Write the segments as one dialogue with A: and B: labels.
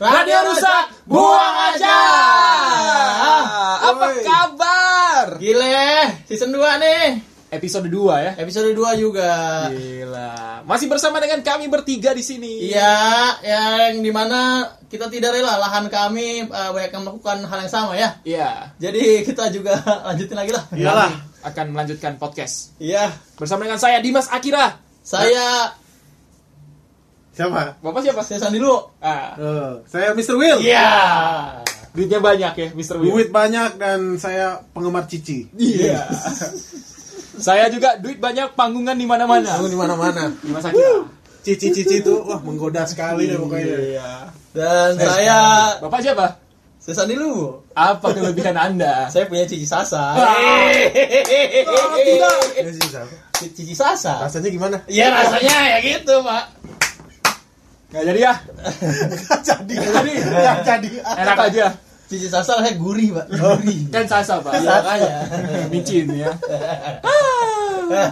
A: Radio rusak, buang aja.
B: Apa
A: Woi.
B: kabar?
A: Gile, season 2 nih.
B: Episode 2 ya.
A: Episode 2 juga.
B: Gila. Masih bersama dengan kami bertiga di sini.
A: Iya, yang dimana kita tidak rela lahan kami eh, banyak yang melakukan hal yang sama ya.
B: Iya.
A: Jadi kita juga lanjutin lagi lah.
C: Iya.
B: Iyalah, akan melanjutkan podcast
A: Iya,
B: bersama dengan saya Dimas Akira.
A: saya
C: Siapa?
B: Bapak siapa?
A: saya Sandi dulu.
B: Ah.
C: Eh, saya Mr. Will.
B: Iya. Duitnya banyak ya, Mr. Will.
C: Duit banyak dan saya penggemar Cici.
B: Iya. saya juga duit banyak panggungan di mana-mana.
A: Aku di mana-mana.
B: Dimas Akira.
C: Cici-cici itu wah menggoda sekali deh pokoknya.
B: Iya.
A: Dan saya
B: Bapak siapa?
A: saya Sandi dulu.
B: Apa kelebihan Anda?
A: Saya punya cici sasa.
B: Hehehe.
C: Oh, tidak. Ya, sih, Sam.
A: Cici sasa.
C: Rasanya gimana?
A: Iya rasanya ya gitu, Pak.
B: Nggak jadi ya?
C: jadi. Jadi, ya, jadi.
B: Enak aja.
A: Cici sasa rasanya gurih, Pak. Gurih.
B: Kan sasa, Pak.
A: Iya makanya.
B: Micin ya. Ah.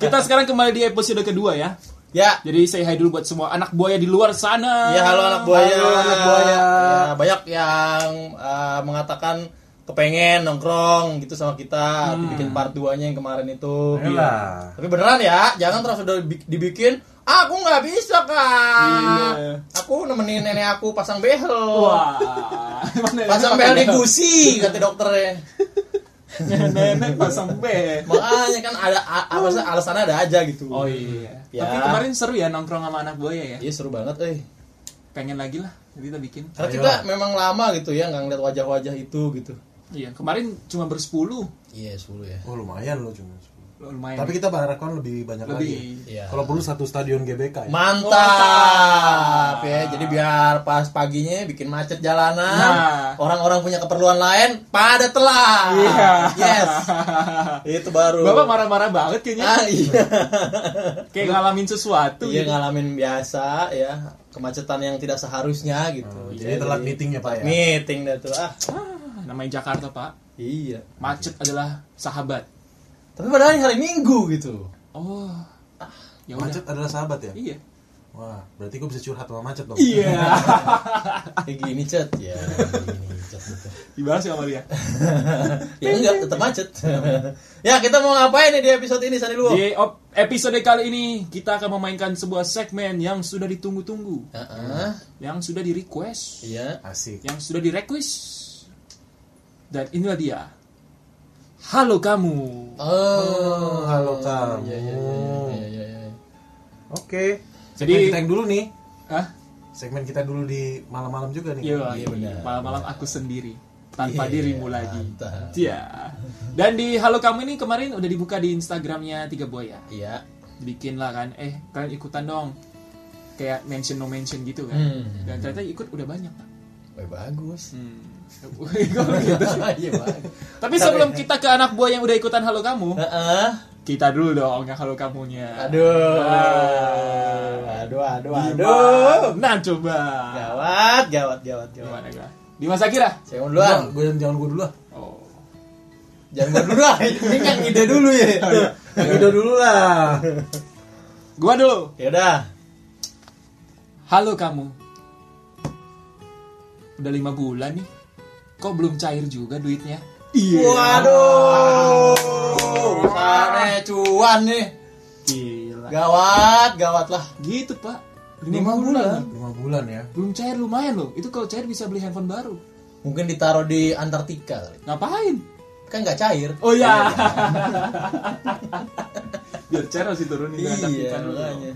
B: Kita sekarang kembali di episode kedua ya.
A: Ya,
B: Jadi say hi dulu buat semua anak buaya di luar sana.
A: Ya halo anak buaya.
C: Halo, anak buaya.
A: Ya, banyak yang eh, mengatakan kepengen nongkrong gitu sama kita dibikin part 2-nya yang kemarin itu.
C: Ayolah.
A: Tapi beneran ya, jangan terus udah dibi- dibikin aku nggak bisa kak.
B: Iya.
A: Aku nemenin nenek aku pasang behel.
B: Wah. Mana
A: Pasang
B: nenek
A: behel di gusi kata dokternya.
B: Nenek pasang bel.
A: Makanya kan ada a- apa sih alasannya ada aja gitu.
B: Oh iya.
A: Ya.
B: Tapi kemarin seru ya nongkrong sama anak buaya ya.
A: Iya seru banget, eh.
B: Pengen lagi lah. Jadi kita bikin.
A: Karena kita memang lama gitu ya nggak ngeliat wajah-wajah itu gitu.
B: Iya. Kemarin cuma bersepuluh.
A: Iya, sepuluh ya.
C: Oh, lumayan loh cuma.
B: Lumayan.
C: Tapi kita berharapkan lebih banyak
B: lebih.
C: lagi. ya.
A: Iya.
C: Kalau perlu satu stadion GBK ya.
A: Mantap.
B: Mantap.
A: ya. Jadi biar pas paginya bikin macet jalanan,
B: Nah.
A: orang-orang punya keperluan lain pada telat.
B: Iya.
A: Yes. Itu baru.
B: Bapak marah-marah banget kayaknya.
A: Ah, iya.
B: Kayak ngalamin sesuatu.
A: Iya
B: gitu.
A: ngalamin biasa ya, kemacetan yang tidak seharusnya gitu.
C: Oh, jadi telat meetingnya, Pak, ya?
A: Meeting dah tuh. Ah,
B: Namanya Jakarta, Pak.
A: iya.
B: Macet adalah sahabat.
A: Tapi padahal hari Minggu gitu.
B: Oh. Ya udah.
C: Macet adalah sahabat ya?
B: Iya.
C: Wah, berarti gue bisa curhat sama macet dong.
B: Iya.
A: Kayak gini, Cet. Ya, gini, Cet. gitu.
B: Dibalas ya sama dia.
A: ya enggak, tetap macet. ya, kita mau ngapain nih di episode ini, Sani Luo?
B: Di op- episode kali ini kita akan memainkan sebuah segmen yang sudah ditunggu-tunggu,
A: Heeh.
B: yang sudah di-request,
A: Ah, Iya.
C: Asik.
B: yang sudah di-request. Dan inilah dia. Halo kamu.
A: Oh,
C: Halo kamu.
A: Iya, iya, iya, iya, iya, iya.
C: Oke.
B: Jadi-
C: Segmen kita yang dulu nih.
B: Hah?
C: Segmen kita dulu di malam-malam juga nih.
B: Iya,
A: Iya,
B: iya.
A: benar.
B: malam-malam aku sendiri tanpa
A: Iya,
B: dirimu lagi.
A: mantap.
B: Iya. Dan di Halo Kamu ini kemarin udah dibuka di Instagramnya Tiga Boya.
A: Iya.
B: Bikin lah kan, eh kalian ikutan dong. Kayak mention no mention gitu kan.
A: Hmm.
B: Dan ternyata ikut udah banyak. Pak. Hmm.
A: Wah, bagus.
B: Kok gitu?
A: Iya, bagus. Ah,
B: Tapi
A: ya.
B: sebelum kita ke anak buah yang udah ikutan halo kamu,
A: Heeh.
B: kita dulu dong yang halo kamunya.
A: Aduh.
B: Wah.
A: Aduh, aduh, aduh. Ya.
B: Gimana? Nah coba.
A: Gawat, gawat, gawat,
B: Gimana
A: gawat.
B: gak? Dimas Akira.
A: Saya mau duluan.
C: Jangan, gue jangan gue dulu lah.
B: Oh.
A: Jangan gua dulu ah. Ini kan ide dulu ya.
B: Oh, iya.
C: Yang Ido dulu lah.
B: Gua dulu.
A: Ya udah.
B: Halo kamu. Udah lima bulan nih. Kok belum cair juga duitnya?
A: Waduh. Sana cuan nih.
B: Gila.
A: Gawat, gawat lah.
B: Gitu pak.
A: Lima bulan.
C: Lima bulan ya.
B: Belum cair lumayan loh. Itu kalau cair bisa beli handphone baru.
A: Mungkin ditaruh di Antartika kali.
B: Ngapain?
A: Kan nggak cair.
B: Oh iya. Biar cair harus diturunin
A: Iya,
B: terhadap ikan dulu.
A: makanya.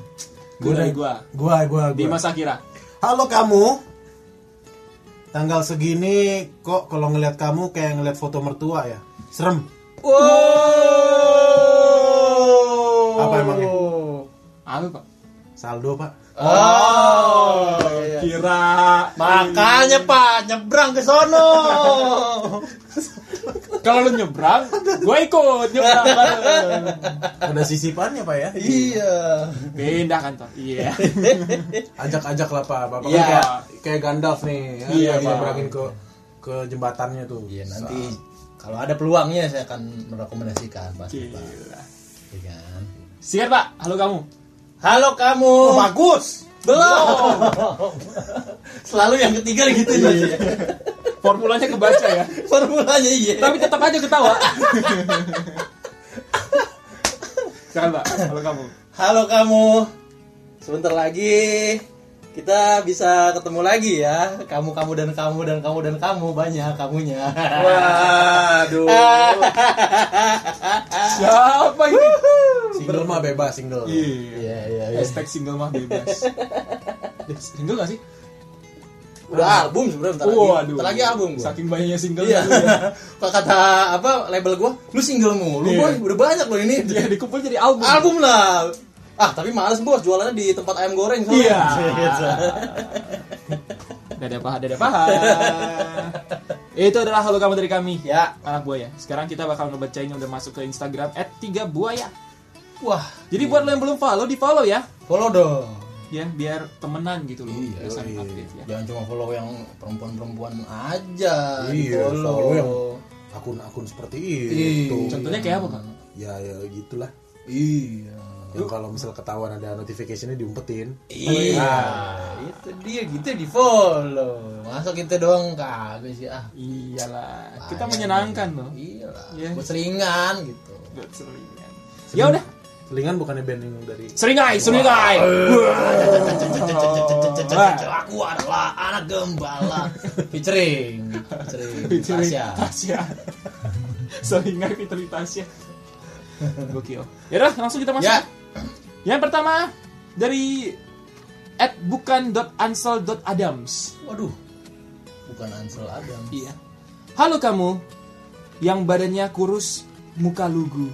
B: Gue dari gua.
C: Gua, gua, gua.
B: Dimas Akira.
C: Halo kamu. Tanggal segini kok kalau ngelihat kamu kayak ngelihat foto mertua ya. Serem.
A: Wow. Oh.
C: Apa emangnya?
B: Apa pak?
C: Saldo pak.
A: Oh, iya, iya.
B: Kira
A: makanya Pak nyebrang ke sono.
B: kalau lu nyebrang, gue ikut nyebrang.
C: Ada sisipannya pak ya.
A: iya.
B: Pindah kantor. Iya.
C: Ajak-ajak lah pak. Bapak
B: Iya.
C: kan kayak, kayak Gandalf nih. Ya,
B: Iya,
C: yang
B: Pak.
C: nyebrangin ke ke jembatannya tuh.
A: Iya nanti kalau ada peluangnya saya akan merekomendasikan pasti Pak.
B: Gila.
A: Iya kan?
B: Sikat pak. Halo kamu.
A: Halo kamu.
B: Oh,
C: Sa- bagus.
A: Belum. Selalu yang ketiga gitu
B: Iya.
A: saja.
B: Formulanya kebaca ya.
A: Formulanya iya.
B: Tapi tetap aja ketawa. Sikat pak. Halo kamu.
A: Halo kamu. Sebentar lagi kita bisa ketemu lagi ya. Kamu kamu dan kamu dan kamu dan kamu banyak kamunya.
B: Waduh. Siapa ini?
C: Single mah bebas single.
B: Iya.
A: Iya iya iya.
B: Hashtag single mah bebas. Single gak sih?
A: Udah album sebenarnya bentar lagi.
B: Waduh.
A: Bentar lagi album gua.
B: Saking banyaknya single
A: Iya.
B: dulu ya.
A: Kalau kata apa label gua, lu single mulu,
B: Iya.
A: boy. Udah banyak loh ini.
B: Dia dikumpul jadi album.
A: Album lah. Ah, tapi males bos jualannya di tempat ayam goreng soalnya.
B: Iya. Dada paha, dada paha. Itu adalah halo kamu dari kami.
A: ya.
B: Anak buaya. Sekarang kita bakal ngebacain yang udah masuk ke Instagram @3buaya.
A: Wah,
B: Jadi buat lo yang belum follow, di follow ya.
A: follow dong.
B: Ya, biar temenan gitu loh.
A: Iya,
B: Biar saling
A: iya.
B: update ya.
A: Jangan cuma follow yang perempuan-perempuan aja.
C: Iya,
A: follow.
C: follow yang akun-akun seperti itu.
A: Iya.
B: Contohnya kayak apa, Pak?
C: Ya ya gitulah.
A: Iya.
C: Yang kalau misal ketahuan ada notificationnya diumpetin. Nah,
A: Iya. Itu dia gitu di follow. Masa kita doang kagak sih ah.
B: Iyalah, kita
A: Bayang.
B: menyenangkan loh.
A: Iyalah.
B: Iya.
A: Buat seringan gitu.
B: Buat seringan. Ya udah,
C: Selingan bukannya band yang dari
B: seringai, seringai. Wah.
A: Aku adalah anak gembala. Featuring. Featuring.
B: Featuring
A: Tasya.
B: Tasya. Seringai featuring Tasya. Gokil. Yaudah, langsung kita masuk.
A: Ya.
B: Yang pertama dari at bukan.ansel.adams.
A: Waduh. Bukan Ansel Adam.
B: Iya. Halo kamu yang badannya kurus, muka lugu.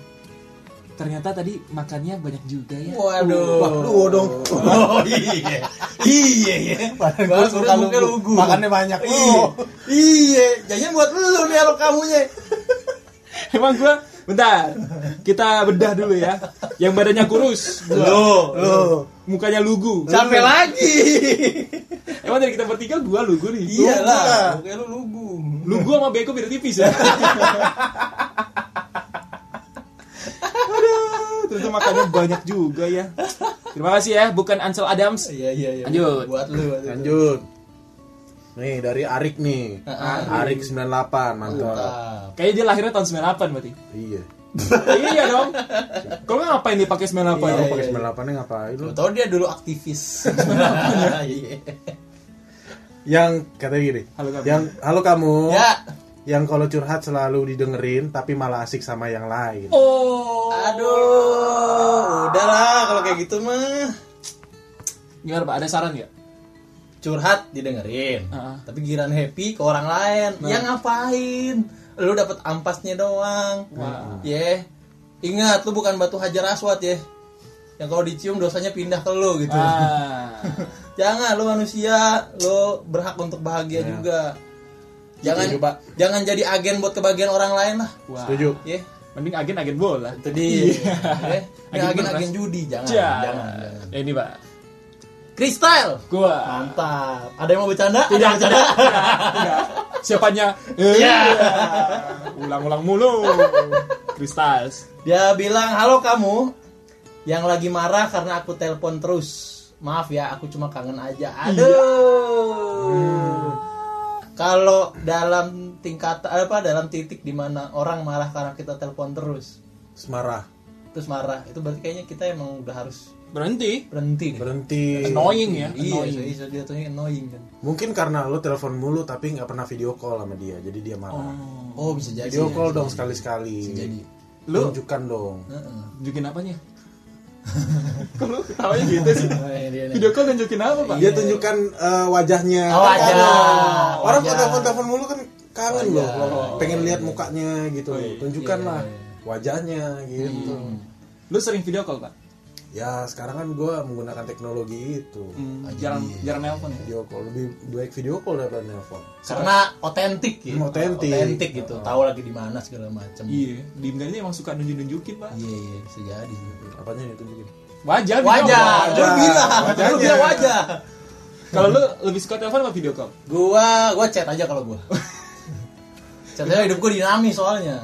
B: Ternyata tadi makannya banyak juga ya.
A: Waduh.
C: Wah, lu dong.
A: Oh iya. Iya ya. Baru sudah mungkin lugu.
C: Makannya banyak.
A: Iya.
C: Oh.
A: Iya, jadinya buat lu nih kalau kamunya.
B: Emang gua bentar. Kita bedah dulu ya. Yang badannya kurus, gua.
A: Lo, lo.
B: mukanya lugu.
A: Sampai lagi.
B: Emang dari kita bertiga gua lugu nih.
A: Iyalah, mungkin lu lugu.
B: Lugu sama Beko beda tipis ya. Aduh, ternyata makannya banyak juga ya. Terima kasih ya, bukan Ansel Adams.
A: Iya, iya, iya.
B: Lanjut.
A: Buat lu. buat lu.
C: Lanjut. Nih dari Arik nih. Arik 98 mantap.
A: Mantap.
B: Kayaknya dia lahirnya tahun 98 berarti.
C: Iya.
B: iya dong. Kalau nggak ngapain dia pakai 98
C: Kalau
B: ya?
C: pakai 98 nya ngapain lu?
A: Lu tau dia dulu aktivis. Iya.
C: Yang kata gini.
B: Halo kamu.
C: Yang halo kamu.
A: Ya.
C: Yang kalau curhat selalu didengerin tapi malah asik sama yang lain.
B: Oh.
A: Aduh, udahlah kalau kayak gitu mah.
B: Gimana Pak? Ada saran nggak?
A: curhat didengerin
B: Heeh.
A: tapi giran happy ke orang lain
B: Nah.
A: yang ngapain lu dapat ampasnya doang
B: Wah.
A: ya ingat lu bukan batu hajar aswat ya yang kalau dicium dosanya pindah ke lu gitu
B: Ah.
A: jangan lu manusia lu berhak untuk bahagia juga jangan
C: Setuju, Pak.
A: jangan jadi agen buat kebahagiaan orang lain lah
B: Wah.
C: Setuju.
A: ya
B: Mending agen-agen bola.
A: itu dia ya. Ini
B: Agen
A: agen-agen
B: beras.
A: judi jangan
B: Jangan.
A: jangan, jangan.
B: Ya, ini Pak.
A: Kristal
B: Gua.
A: mantap ada yang mau bercanda ada
B: Tidak,
A: yang bercanda
B: tidak, tidak. Siapanya?
A: Iya.
B: Ulang-ulang mulu. Kristals.
A: Dia bilang, halo kamu yang lagi marah karena aku telepon terus. Maaf ya, aku cuma kangen aja.
B: Iya.
A: Aduh. Kalau dalam tingkat apa dalam titik di mana orang marah karena kita telepon terus,
C: Semarah.
A: terus marah, itu berarti kayaknya kita emang udah harus
B: Berhenti.
A: berhenti. deh.
C: Berhenti.
B: Annoying ya.
A: Iya,
B: Annoying.
A: so- so- jatuhnya annoying kan.
C: Mungkin karena lu telepon mulu tapi nggak pernah video call sama dia, jadi dia marah.
A: Oh, bisa jadi.
C: Video
A: ya.
C: call dong sekali-sekali.
A: Jadi.
B: Lu
C: Tunjukkan dong.
A: Heeh.
B: tunjukin apanya? Kok lu ketawanya gitu sih? Iya.
A: Oh, iya, iya, iya.
B: Video call tunjukin apa, Pak?
C: Dia tunjukkan eh, wajahnya.
A: Oh, wajah.
C: Kangen. Orang
A: Wajah. Oh, iya,
C: kalau telepon-telepon mulu kan kangen loh, kalau pengen lihat mukanya gitu. Tunjukkan lah wajahnya gitu.
A: Hmm.
B: Lu sering video call, Pak?
C: Ya sekarang kan gue menggunakan teknologi itu
B: Hmm, jarang jarang nelpon ya.
C: Video call lebih baik video call daripada nelpon
A: Karena otentik ya.
C: Hmm, otentik.
A: Otentik gitu. Tahu lagi di mana segala macam.
B: Iya, di Medan ini emang suka nunjuk-nunjukin, Pak.
A: Iya, iya, bisa jadi. sih.
C: Hmm, Apanya itu mungkin
B: Wajah, video
A: Wajah,
B: call.
A: lu bilang, lu
C: Wajahnya.
A: bilang wajah.
B: Kalau lu lebih suka telepon apa video call?
A: Gua, gua chat aja kalau gua. chat aja hidup gua dinamis soalnya.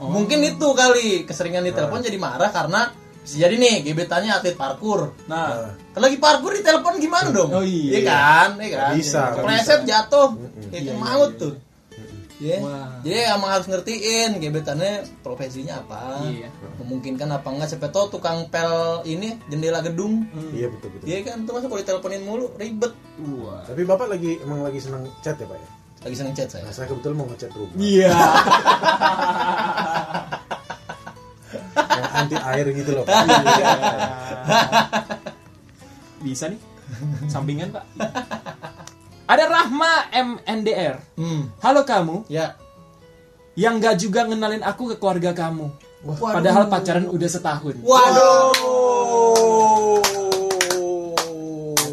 A: Mungkin itu kali keseringan ditelepon jadi marah karena bisa jadi nih gebetannya atlet parkur.
C: Ah.
B: Nah,
A: Kalau lagi parkur ditelepon gimana dong?
B: Oh, iya.
A: kan, iya kan.
C: Bisa, nggak
A: Preset jatuh, kayak
B: Iya,
A: maut tuh. Iya.
B: Wah.
A: Jadi emang harus ngertiin gebetannya profesinya apa,
B: Iya.
A: memungkinkan apa enggak. Siapa tahu tukang pel ini jendela gedung.
B: Mm.
C: Iya betul betul
A: Iya kan, tuh masa kalau diteleponin mulu ribet.
B: wah.
C: Tapi bapak lagi emang lagi senang chat ya pak ya
A: Lagi seneng chat saya.
C: Nah saya kebetulan mau ngechat rumah
B: Iya.
C: Yang anti air gitu loh
A: Iya.
C: pak
B: Bisa nih. Sampingan, Pak. Ada Rahma MNDR.
A: Hmm.
B: Halo kamu,
A: Ya.
B: yang gak juga ngenalin aku ke keluarga kamu.
A: Waduh.
B: Padahal pacaran udah setahun.
A: Waduh.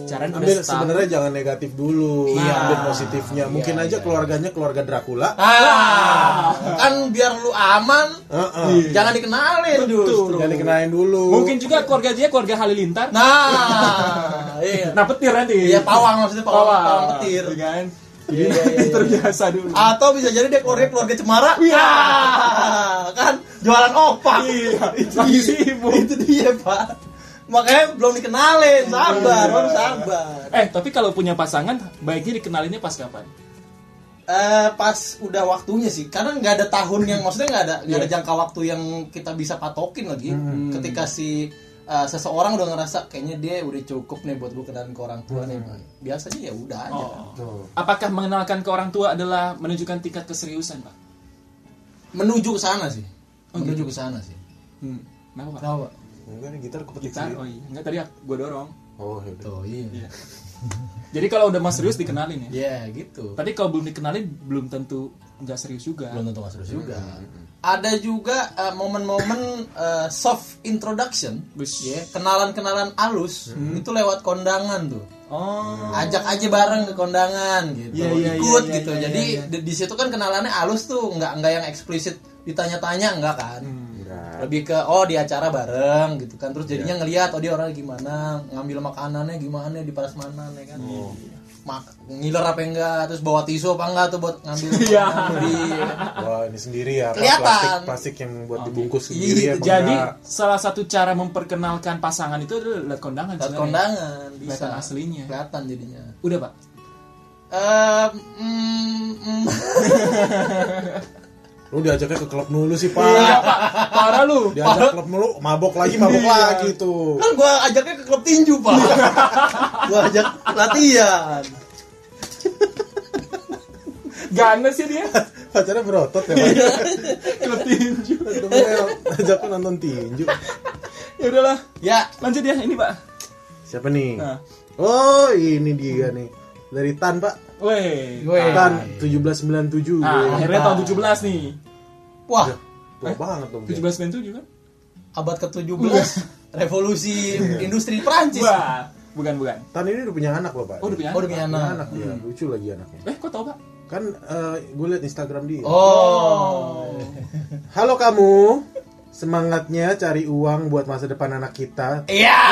B: Pacaran udah
C: Ambil
B: setahun.
C: sebenarnya jangan negatif dulu
A: Iya.
C: Ambil positifnya Mungkin
A: Iya,
C: aja
A: iya.
C: keluarganya keluarga Dracula
A: Ah, kan biar lu aman,
C: Heeh.
B: Iya.
A: jangan dikenalin justru.
C: Iya. Jangan dikenalin dulu
B: Mungkin juga keluarga dia keluarga Halilintar.
A: Nah, iya.
B: Nah, petir nanti.
A: Iya pawang maksudnya pawang, pawang, petir.
B: Iya kan? Jadi
A: Iya, iya, iya, iya.
B: terbiasa dulu.
A: Atau bisa jadi dia keluarga keluarga cemara.
B: Iya.
A: Ah, kan jualan opak.
B: Iya, lagi sibuk.
A: Itu dia pak. Makanya belum dikenalin, sabar, baru sabar.
B: Eh, tapi kalau punya pasangan, baiknya dikenalinnya pas kapan?
A: Eh pas udah waktunya sih, karena nggak ada tahun yang maksudnya nggak ada nggak ada jangka waktu yang kita bisa patokin lagi. Ketika si eh, seseorang udah ngerasa kayaknya dia udah cukup nih buat gue kenalin ke orang tua nih. Pak. Biasanya ya udah aja.
C: Tuh.
B: Apakah mengenalkan ke orang tua adalah menunjukkan tingkat keseriusan, Pak?
A: Menuju ke sana sih, menuju ke sana sih.
B: Hmm. Kenapa, Pak?
A: Kenapa?
C: Enggak nih gitar kepetik
B: Gitar,
C: sendiri.
B: oh iya. Enggak, tadi gue dorong.
C: Oh, ya udah.
A: Tuh iya.
B: Jadi kalau udah mas serius dikenalin ya?
A: Ya gitu.
B: Tapi kalau belum dikenalin, belum tentu nggak serius juga.
A: belum tentu masuk juga. Kan? Mm-hmm. Ada juga eh, momen-momen eh, soft introduction,
B: Bus.
A: ya,
C: Iya.
A: kenalan-kenalan alus
B: Mm-hmm.
A: itu lewat kondangan tuh.
B: Oh,
A: Ajak aja bareng ke kondangan gitu,
B: Iya, iya, iya,
A: ikut
B: iya,
A: gitu.
B: iya,
A: Jadi
B: iya,
A: di, di situ kan kenalannya alus tuh, nggak nggak yang eksplisit ditanya-tanya nggak kan.
B: Mm-hmm.
C: Enggak.
A: Lebih ke oh di acara bareng gitu kan. Terus jadinya ngelihat oh dia orang gimana, ngambil makanannya gimana di prasmanan ya kan. Mak ngiler apa enggak, terus bawa tisu apa enggak tuh buat ngambil
B: Iya.
A: makanan di
C: Wah, ini sendiri ya. Pak.
A: Kelihatan.
C: Plastik, plastik yang buat dibungkus sendiri
A: Iya,
C: ya. Pak.
B: jadi
C: Enggak.
B: salah satu cara memperkenalkan pasangan itu adalah lewat kondangan.
A: Lewat
B: sebenarnya.
A: kondangan bisa
B: Kelihatan aslinya.
A: kelihatan jadinya
B: Udah, Pak.
A: Eh, mm, mm.
C: Lu diajaknya ke klub mulu sih, Pak.
B: Iya, Parah lu.
C: Diajak klub mulu, mabok lagi, mabok
B: Iya.
C: lagi
B: Oh.
C: tuh.
A: kan gua ajaknya ke klub tinju pak gua ajak latihan
B: Ganes sih dia.
C: Pacarnya berotot ya, Pak.
B: Iya. Klub tinju.
C: Temennya Ajak lu nonton tinju.
B: Ya udahlah.
A: ya
B: Lanjut ya ini, Pak.
C: Siapa nih?
B: Nah.
C: Oh, ini dia nih. Dari Tan, Pak.
B: Weh.
C: Tan 1797.
B: Nah, akhirnya tahun 17
C: Iya.
B: nih. Ya.
A: wah
C: Tua banget dong. dia.
B: 17 97 kan?
A: abad ke 17 revolusi industri Prancis
B: Iya. Wah, bukan bukan.
C: Tan ini udah punya anak, Bapak.
B: Oh, udah punya
A: oh udah
B: anak.
A: punya
C: Punya
A: anak
C: Iya, anak dia. Lucu lagi anaknya.
B: Eh, kok tau, Pak?
C: Kan eh, gue liat Instagram dia.
A: oh
C: Halo kamu, semangatnya cari uang buat masa depan anak kita.
A: iya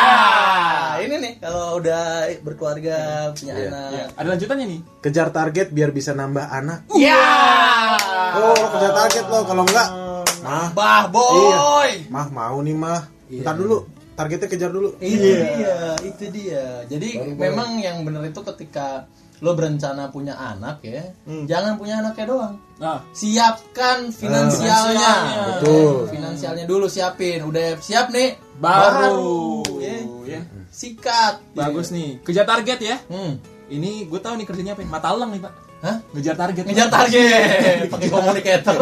A: ini nih kalau udah berkeluarga punya
C: Iya.
A: anak
B: Ya, ada lanjutannya nih.
C: Kejar target biar bisa nambah anak.
A: ya
C: Oh, lo kejar target lo kalau enggak, mah,
A: bah boy
B: Iya.
C: mah mau nih mah. Ntar dulu, targetnya kejar dulu. Iya.
A: Itu dia, itu dia. Jadi memang yang benar itu ketika lo berencana punya anak ya, jangan punya anaknya doang.
B: Nah,
A: Siapkan finansialnya. Eh,
B: finansialnya.
C: Betul.
A: Finansialnya dulu siapin. Udah siap nih,
B: baru,
A: ya.
B: ya.
C: Iya.
A: Sikat.
B: Bagus nih. Kejar target ya.
A: Hmm.
B: Ini gue tahu nih kerjanya apa. ya. Mata ulang nih, Pak.
A: Hah?
B: Ngejar target.
A: Ngejar
B: Pak.
A: target pakai komunikator.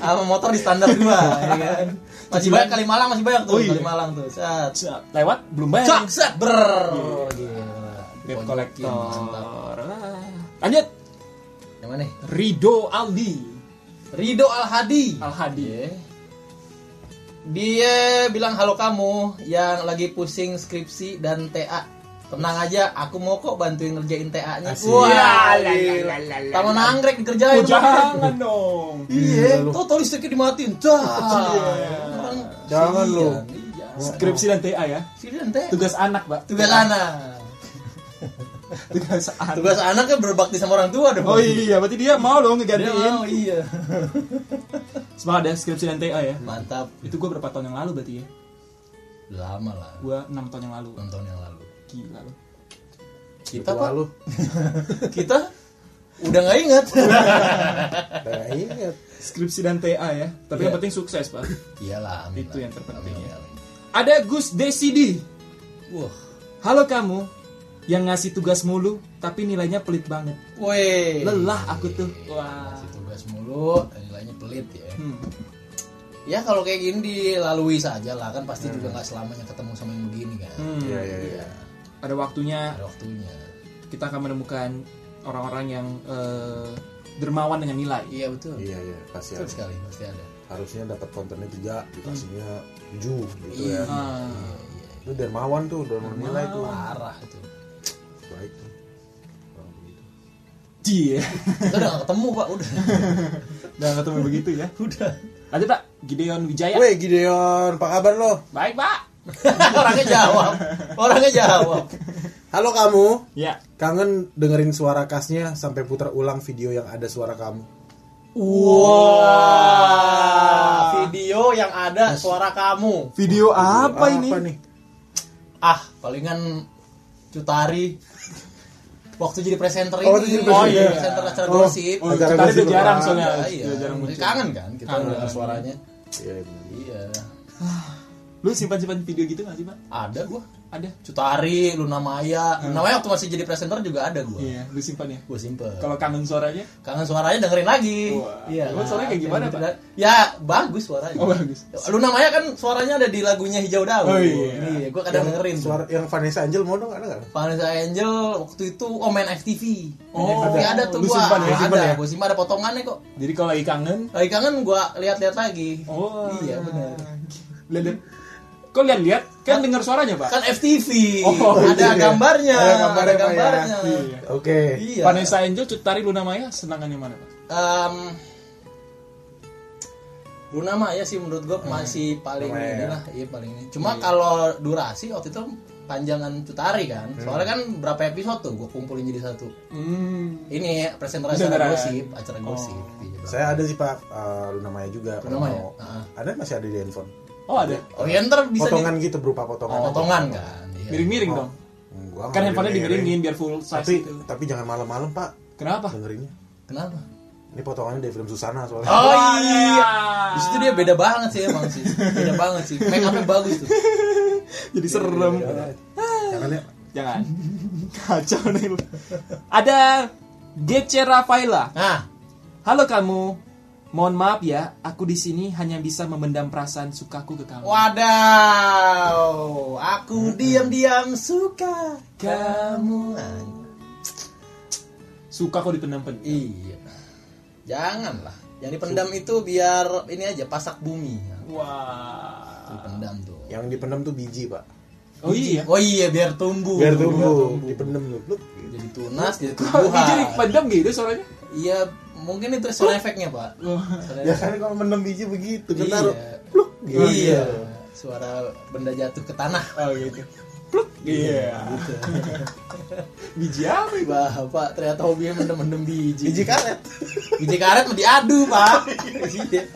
A: Sama motor di standar dua, ya kan? Masih banyak kali Malang, masih banyak tuh kali Malang tuh. Sat.
B: Cak, Lewat belum bayar.
A: Cak,
B: nih.
A: sat, ber.
B: Debt
A: Diponjokin, mantap.
B: collector. Wah. Lanjut.
A: Yang mana nih?
B: Rido Aldi. Eh,
A: Rido Al Hadi.
B: Al Hadi.
A: Dia bilang halo kamu yang lagi pusing skripsi dan TA. Tenang aja, aku mau kok bantuin ngerjain TA-nya.
C: Asik.
A: Wah, gila. Taman anggrek dikerjain. Bang.
B: jangan dong.
A: Iya,
C: Iya, lu.
A: tuh tuh listriknya dimatiin. Cah. Orang
C: Jangan lu.
A: Iya.
B: Skripsi dan TA ya.
A: Sini ente.
B: Tugas anak, Pak.
A: Tugas anak.
B: Tugas anak.
A: Tugas anak kan berbakti sama orang tua dong.
B: Oh iya, Oh, berarti dia mau dong
A: Dia mau,
B: ngegantiin.
A: iya.
B: Semangat ya skripsi dan TA ya.
A: Mantap.
B: Itu gue berapa tahun yang lalu berarti ya?
A: Lama lah.
B: Gue 6 tahun yang lalu.
A: Enam tahun yang lalu.
B: Gila loh.
A: Kita
C: Tua
A: pak,
C: lu.
A: kita udah nggak ingat.
C: Nah, ingat.
B: Skripsi dan TA ya. Tapi
A: Iya.
B: yang penting sukses, Pak.
A: Iyalah. amin
B: Itu
A: lah.
B: yang terpenting
A: Amin,
B: ya.
A: amin.
B: Ada Gus Desidi.
A: Wah,
B: Halo kamu yang ngasih tugas mulu tapi nilainya pelit banget.
A: weh.
B: Lelah aku
A: iya,
B: tuh. Wah.
A: Masih tugas mulu, nilainya pelit ya.
B: Hmm.
A: Ya kalau kayak gini dilalui saja lah kan pasti
C: Hmm.
A: juga nggak selamanya ketemu sama yang begini kan.
B: Hmm.
C: Iya, iya, iya.
B: Ada waktunya
A: Ada waktunya.
B: kita akan menemukan orang-orang yang eh, dermawan dengan nilai.
A: Iya betul.
C: Iya, iya, pasti
A: Betul
C: ada.
A: sekali pasti ada.
C: Harusnya dapat kontennya 3, dikasihnya 7 gitu ya.
B: Ah.
C: Itu dermawan tuh, dermawan nilai tuh.
A: Parah itu.
C: Baik tuh. Orang begitu.
B: Iya.
A: Kita udah nggak ketemu pak, udah.
B: Dan ketemu begitu ya.
A: udah.
B: Lanjut Pak, Gideon
A: Ya.
B: Wijaya.
C: Weh Gideon, apa kabar lo?
B: Baik Pak.
A: Orangnya jawab. Orangnya jawab.
C: Halo kamu,
B: Ya.
A: Iya.
C: kangen dengerin suara khasnya sampai putar ulang video yang ada suara kamu. Ah.
A: Ah, video yang ada suara kamu.
B: Video apa ini?
C: nih?
A: Ah, palingan Cutari. Waktu jadi presenter ini.
C: Oh, waktu jadi presenter.
A: iya. presenter acara
C: Oh,
A: gosip.
C: oh,
B: Kita
C: acara
B: udah
C: gosip
B: jarang
C: apaan?
B: Kan, soalnya.
A: Iya, iya.
B: Udah jarang
A: Masih
B: muncul.
A: Kangen kan kita
B: Kangen.
A: dengar suaranya.
C: Iya, bener.
A: Iya.
B: Lu simpan-simpan video gitu gak sih Pak?
A: Ada gua.
B: Ada.
A: Cutari, Luna Maya. Luna Maya waktu masih jadi presenter juga ada gua.
B: Hmm. Iya, lu simpan ya.
A: Gua simpen.
B: Kalau kangen suaranya?
A: Kangen suaranya dengerin lagi.
B: Wah.
A: Iya.
B: Emang suaranya kayak gimana, Pak?
A: Ya, bagus suaranya.
B: Oh, bagus.
A: Lu namanya kan suaranya ada di lagunya Hijau Daun.
B: Oh, iya.
A: gue kadang dengerin. tuh.
C: Suara yang Vanessa Angel mau dong ada nggak?
A: Vanessa Angel waktu itu oh main FTV. Main
B: Oh,
A: FTV Iya, ada tuh
B: lu
A: gua.
B: simpan ya,
A: ada,
C: simpan ya?
A: gua simpan ada potongannya kok.
B: Jadi kalau lagi kangen,
A: Lagi kangen gua lihat-lihat lagi.
B: oh
A: iya benar.
B: Lihat. Kok lihat-lihat? Kan dengar suaranya, Pak.
A: Kan FTV.
B: Oh,
A: ada
C: iya.
A: gambarnya.
C: Ada gambarnya, Pak, ya.
A: gambarnya.
B: Iya.
C: Oke.
A: Iya.
B: Vanessa Angel, Cut Tari, Luna Maya, senangan yang mana, Pak?
A: Em, Luna mah ya sih menurut gue masih paling
C: lumayan
A: ini
C: ya.
A: lah, iya paling ini. Cuma kalau durasi waktu itu panjangan Cutari kan, soalnya kan berapa episode tuh gue kumpulin jadi satu.
B: Hmm.
A: Ini presentasi
B: Beneran.
A: acara gosip, acara gosip. Iya, Bang.
C: Saya ada sih Pak eh, Luna Maya juga.
A: Luna
C: kalau
A: Maya?
C: mau.
A: Ah.
C: Ada masih ada di handphone.
B: Oh, ada.
A: Oh ya ntar bisa
C: potongan
A: di-
C: gitu berupa potongan. Hmm,
A: Oh, potongan kan. Iya.
B: Miring-miring dong.
C: Gua nggak
B: Kan handphonenya
C: miring-miring.
B: dimiringin biar full size
C: Tapi
B: gitu.
C: tapi jangan malam-malam Pak
B: Kenapa?
C: dengerinnya.
A: Kenapa?
C: Ini potongannya dari film Susana soalnya.
A: Oh
B: Wah, ya.
A: iya. Di situ dia beda banget sih emang sih. Beda banget sih. Make upnya bagus tuh.
B: Jadi serem.
C: Jangan ya.
B: Iya, Jangan. Kacau nih. lu. Ada Gece Rafaela.
A: Nah,
B: Halo kamu. Mohon maaf ya, aku di sini hanya bisa memendam perasaan sukaku ke kamu.
A: Wadaw, aku diam-diam suka kamu.
B: Suka kok dipendam-pendam.
A: Iya, janganlah. Yang dipendam itu biar ini aja pasak bumi.
B: Wah.
A: Dipendam tuh.
C: Yang dipendam tuh biji Pak.
B: Oh iya.
A: Oh iya, biar tumbuh.
C: Biar tumbuh. Dipendam tuh. Pluk.
A: Jadi tunas, jadi
B: Kok biji
A: tumbuhan.
B: dipendam gitu suaranya?
A: Iya, mungkin itu sound efeknya pak. Sound
C: Ya
A: effect.
C: kan kalau mendem biji begitu kan
A: Iya.
C: taruh pluk gitu.
A: Iya, suara benda jatuh ke tanah.
B: Oh gitu. Pluk. Iya.
A: Gitu.
B: Biji apa itu?
A: Bapak ternyata hobinya mendem-mendem biji.
C: Biji karet.
A: Biji karet mau diadu pak. Iya.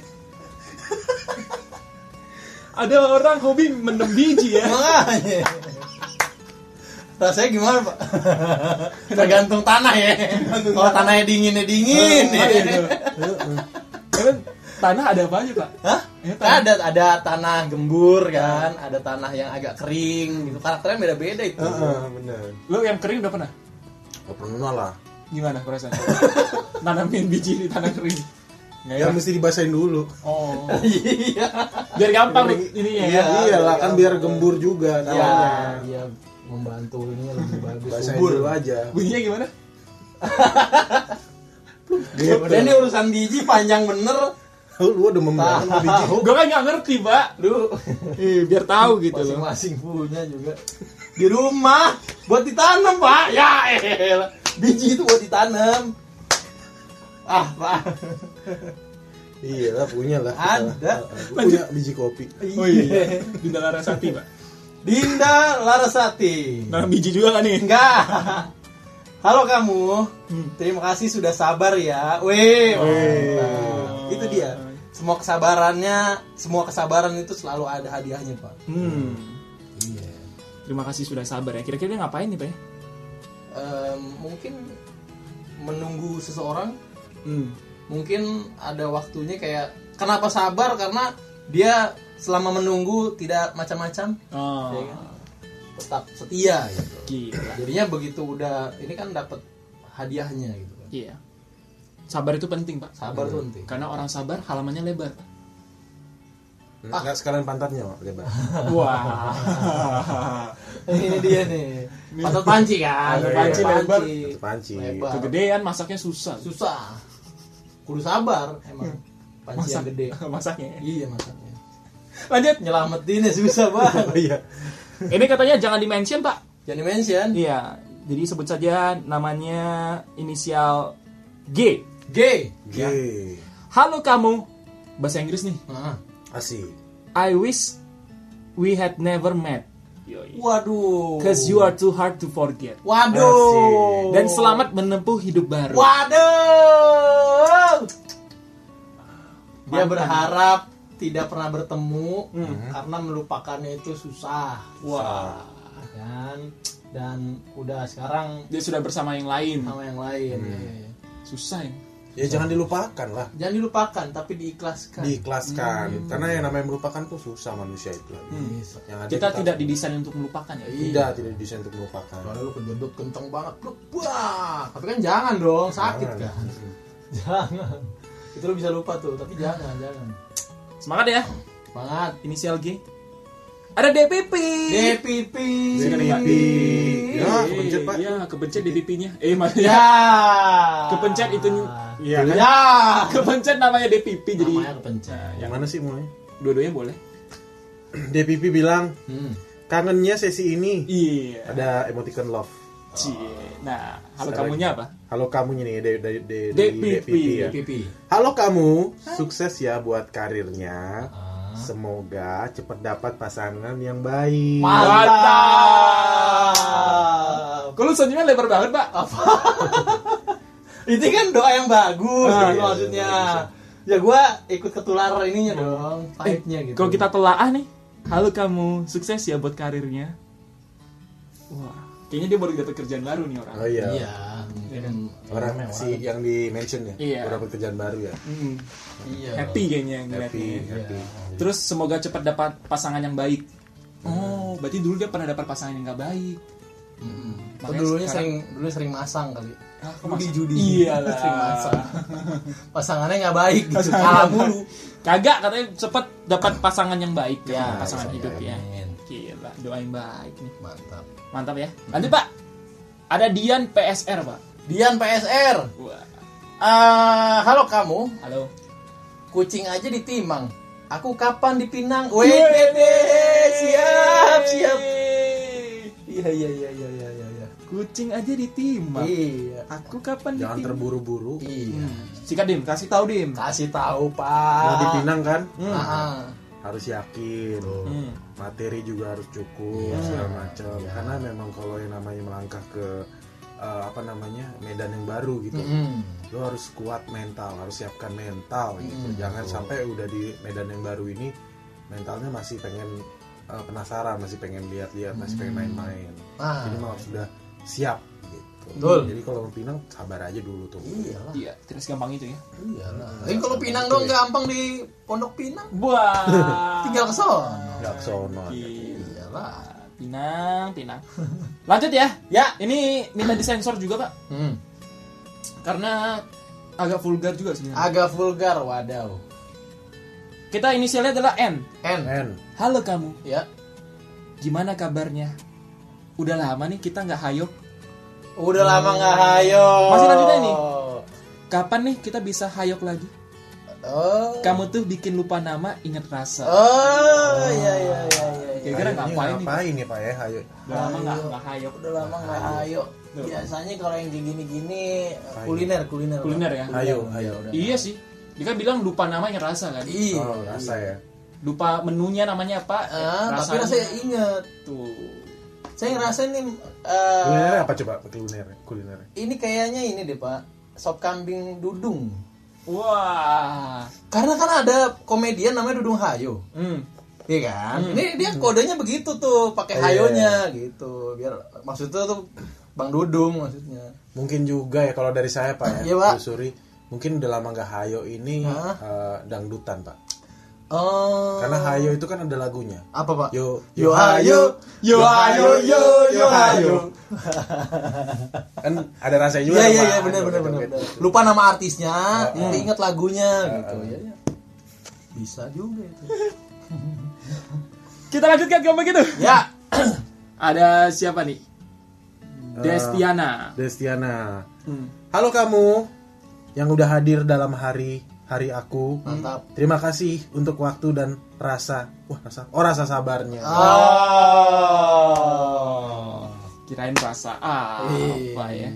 B: Ada orang hobi mendem biji ya.
A: Makanya. Rasanya gimana pak? Tergantung tanah ya. Kalau tanahnya dinginnya dingin. ya.
B: Emang Kan? tanah ada apa aja pak?
A: Hah? Kan
B: Ya, tanah.
A: Ada ada tanah gembur kan, ada tanah yang agak kering gitu. Karakternya beda-beda itu.
C: Heeh, benar.
B: Lo yang kering udah pernah?
C: Gak pernah lah.
B: Gimana perasaan? Nanamin biji di tanah kering. Nggak
C: Yang
B: enak.
C: Ya, mesti dibasahin dulu.
B: Oh.
A: Iya.
B: Iya. Biar gampang ini ya.
C: Iya, iyalah kan biar gembur juga
A: Iya,
C: namanya.
A: iya ya. membantu ini lebih bagus.
C: Basahin
A: Subur.
C: dulu aja.
B: Bunyinya gimana?
C: Gede
B: Iya,
A: Dan ini urusan biji panjang bener.
C: tahu lu udah membangun
A: Tahu.
C: biji
B: Gue kan nggak ngerti, Pak.
A: Lu
B: Eh, biar tahu gitu loh.
A: masing-masing punya juga di rumah buat ditanam pak ya elah. biji itu buat ditanam ah pak
C: iya lah punya lah
A: Ada.
C: Gua punya biji kopi
B: Oh iya, di dalam Rasati, Pak.
A: Dinda Larasati
B: Dalam biji juga kan nih?
A: enggak halo kamu
B: Hmm.
A: terima kasih sudah sabar ya weh
B: Oh.
A: mantap. itu dia semua kesabarannya semua kesabaran itu selalu ada hadiahnya pak
B: Hmm.
A: Iya.
B: Terima kasih sudah sabar ya. Kira-kira dia ngapain nih, Pak? ya?
A: Em, mungkin menunggu seseorang
B: Hmm.
A: mungkin ada waktunya kayak kenapa sabar karena dia selama menunggu tidak macam-macam
B: Oh,
A: ya kan? tetap setia gitu
B: gila.
A: jadinya begitu udah ini kan dapat hadiahnya gitu kan
B: Iya. Sabar itu penting, Pak.
A: sabar tuh penting
B: Karena orang sabar halamannya lebar. Pak.
C: Nah, nggak sekalian pantatnya Pak, lebar
B: Wah.
A: ini dia nih patat panci kan
C: Patat
A: Patat
C: panci
B: lebar.
C: Patat panci.
A: Lebar.
B: Kegedean masaknya susah.
A: susah kudu sabar emang panci yang gede
B: masaknya. ya.
A: iya masaknya
B: Lanjut.
A: nyelamatinnya ya, susah banget
C: oh, iya
B: Ini katanya jangan dimention, Pak.
A: jangan mention
B: Iya. Jadi sebut saja namanya inisial G.
A: G
C: Gih.
B: Halo kamu. Bahasa Inggris nih.
A: Ah.
C: asik
B: I wish we had never met.
A: waduh
B: Cause you are too hard to forget.
A: Waduh.
B: Dan selamat menempuh hidup baru.
A: Waduh. Dia
B: Mantan. Hmm.
A: berharap tidak pernah bertemu karena melupakannya itu susah.
B: Wah.
A: Kan dan udah sekarang
B: Dia sudah bersama yang lain.
A: sama yang lain. Iya.
B: Susah ya.
C: ya jangan dilupakan lah
A: Jangan dilupakan tapi diikhlaskan.
C: diikhlaskan
A: Hmm.
C: karena yang namanya melupakan tuh susah manusia itu
A: Yes.
C: yang ada
B: Kita tidak didesain untuk melupakan ya.
C: tidak tidak didesain untuk melupakan
A: Kalau lu kedodot kenceng banget, blebak. Tapi kan jangan dong, sakit
C: Jangan.
A: kan. jangan. Itu lu bisa lupa tuh, tapi jangan, jangan.
B: Semangat ya.
A: Semangat.
B: Inisial G. Ada DPP.
A: DPP.
C: DPP. Ya, kepencet, Pak.
B: Iya, kepencet DPP-nya. Eh, maksudnya
A: Ya.
B: kepencet itu
C: iya kan
A: Ya.
B: kepencet namanya DPP jadi
A: Namanya kepencet.
B: Iya.
C: yang mana sih mulai
B: dua-duanya boleh.
C: DPP bilang
A: Hmm.
C: kangennya sesi ini
B: Iya.
C: ada emoticon love
B: Cie. Nah, halo
C: Sekarang-
B: kamunya apa?
C: halo kamunya nih dari dari dari- dari
B: DPP.
C: DPP ya
A: DPP.
C: Halo kamu, sukses ya buat karirnya.
B: Ah.
C: Semoga cepat dapat pasangan yang baik.
A: Mantap.
B: Kalau senyumnya lebar banget, Pak.
A: Oh, Itu kan doa yang bagus
C: Ah,
A: gitu
C: iya,
A: maksudnya.
C: iya,
A: Ya gua ikut ketular ininya dong,
B: Eh,
A: vibe-nya gitu.
B: Kalau kita telaah nih, halo kamu, sukses ya buat karirnya. Wah, kayaknya dia baru dapat kerjaan baru nih orang.
C: Oh iya.
A: Iya, mungkin
C: Orang
A: mewah.
C: si yang di mention ya,
B: Iya.
C: udah dapat kerjaan baru ya.
B: Mm,
A: Iya.
B: happy kayaknya ngeliatnya. ya.
C: Happy, happy.
B: Terus semoga cepat dapat pasangan yang baik.
A: Hmm.
B: Oh, berarti dulu dia pernah dapat pasangan yang nggak baik.
A: Mm-mm. Tuh
B: Makanya sekarang-
A: dulunya sering dulu sering masang kali.
B: Ah, kok
A: Judi
B: masang?
A: judi.
B: Iyalah.
A: sering masang. Pasangannya nggak baik gitu. Kalah mulu.
B: Kagak katanya cepat dapat pasangan yang baik,
A: Ya,
B: ya, pasangan
C: iya,
B: hidup ya.
A: Amin.
B: Gila, doa yang baik nih.
A: Mantap.
B: Mantap ya. Lanjut, Pak. Ada Dian PSR, Pak.
A: Dian PSR.
B: Wah.
A: Ah, halo kamu,
B: Halo.
A: kucing aja ditimang. Aku kapan dipinang? Weh, dede, siap, siap. Iya, iya, iya, iya, iya, iya, iya.
B: Kucing aja ditimang.
A: Iya.
B: Aku kapan
C: Jangan
B: ditimang?
C: terburu-buru.
A: Iya.
B: Hmm. Sikat Dim, kasih tahu Dim.
A: Kasih tahu,
C: Mau
A: Pak.
C: dipinang kan,
A: Ah,
C: harus yakin.
B: Hmm.
C: Materi juga harus cukup segala macam. Karena memang kalau yang namanya melangkah ke eh, apa namanya medan yang baru gitu.
A: mm.
C: lo harus kuat mental harus siapkan mental gitu jangan sampai udah di medan yang baru ini mentalnya masih pengen eh, penasaran masih pengen lihat-lihat masih pengen main-main
A: Ah.
C: jadi memang sudah siap gitu
A: Betul.
C: jadi kalau mau pinang sabar aja dulu tuh
A: Iyalah.
B: Iya, tidak segampang itu ya.
A: Iyalah. Tapi kalau pinang dong gampang di Pondok Pinang.
B: Wah.
A: Tinggal ke sono.
C: nggak kesono
A: Iya. Iyalah.
B: Pinang, pinang. Lanjut ya.
A: Ya.
B: Ini minta disensor juga, Pak.
A: Hmm.
B: Karena agak vulgar juga sebenarnya.
A: Agak vulgar, wadaw.
B: Kita inisialnya adalah N.
A: N.
C: men
B: Halo kamu,
A: Ya.
B: gimana kabarnya? Udah lama nih kita nggak hayok.
A: Udah lama nggak hayo.
B: Masih lanjutnya nih? Kapan nih kita bisa hayok lagi?
A: Oh.
B: Kamu tuh bikin lupa nama, inget rasa.
A: Oh, iya iya iya iya. iya.
B: Kira-kira
C: Hayunya
B: Eh, ngapain nih?
C: ngapain ya Pak ya? Hayu.
B: Udah lama nggak nggak hayok.
A: Udah lama nggak ayo. Biasanya kalau yang kayak gini-gini eh, kuliner kuliner
B: Kuliner ya?
C: Hayu, hayu.
B: Iya sih. Dia kan bilang lupa nama inget rasa kan.
A: Iya.
C: Oh, rasa ya.
B: Lupa menunya namanya apa? eh, gitu.
A: Ah, tapi rasanya inget.
B: tuh.
A: Saya ngerasain nih eh,
C: Kulinernya apa coba? Kulinernya, kulinernya.
A: ini kayaknya ini deh Pak, sop kambing dudung.
B: Wah.
A: Karena kan ada komedian namanya Dudung Hayo.
B: Hmm.
A: Iya kan? Ini dia kodenya begitu tuh, pakai hayonya gitu. Biar maksudnya tuh Bang Dudung maksudnya.
C: Mungkin juga ya kalau dari saya Pak ya.
A: Iya, Pak.
C: Telusuri. Mungkin udah lama nggak hayo ini eh, dangdutan Pak.
A: Oh.
C: Karena hayo itu kan ada lagunya.
A: apa Pak?
C: Yo,
A: Yo Hayo, Yo Hayo, Yo Yo Hayo.
C: Kan ada rasanya
A: Iya
C: juga. tuh,
A: iya
C: Pak. gitu kan.
A: iya benar benar benar.
C: Joget-joget.
A: benar. Lupa nama artisnya, nanti ingat lagunya gitu. Iya, iya. Bisa juga itu.
B: Kita lanjutkan kalau begitu.
A: ya.
B: Ada siapa nih?
A: Eh.
B: Destiana.
C: Destiana.
B: Hmm.
C: Halo kamu yang udah hadir dalam hari hari aku.
A: Mantap.
C: Terima kasih untuk waktu dan rasa. Wah, rasa. Oh, rasa sabarnya.
A: Ah. Oh.
B: Kirain rasa ah, apa
A: Iya.
B: ya?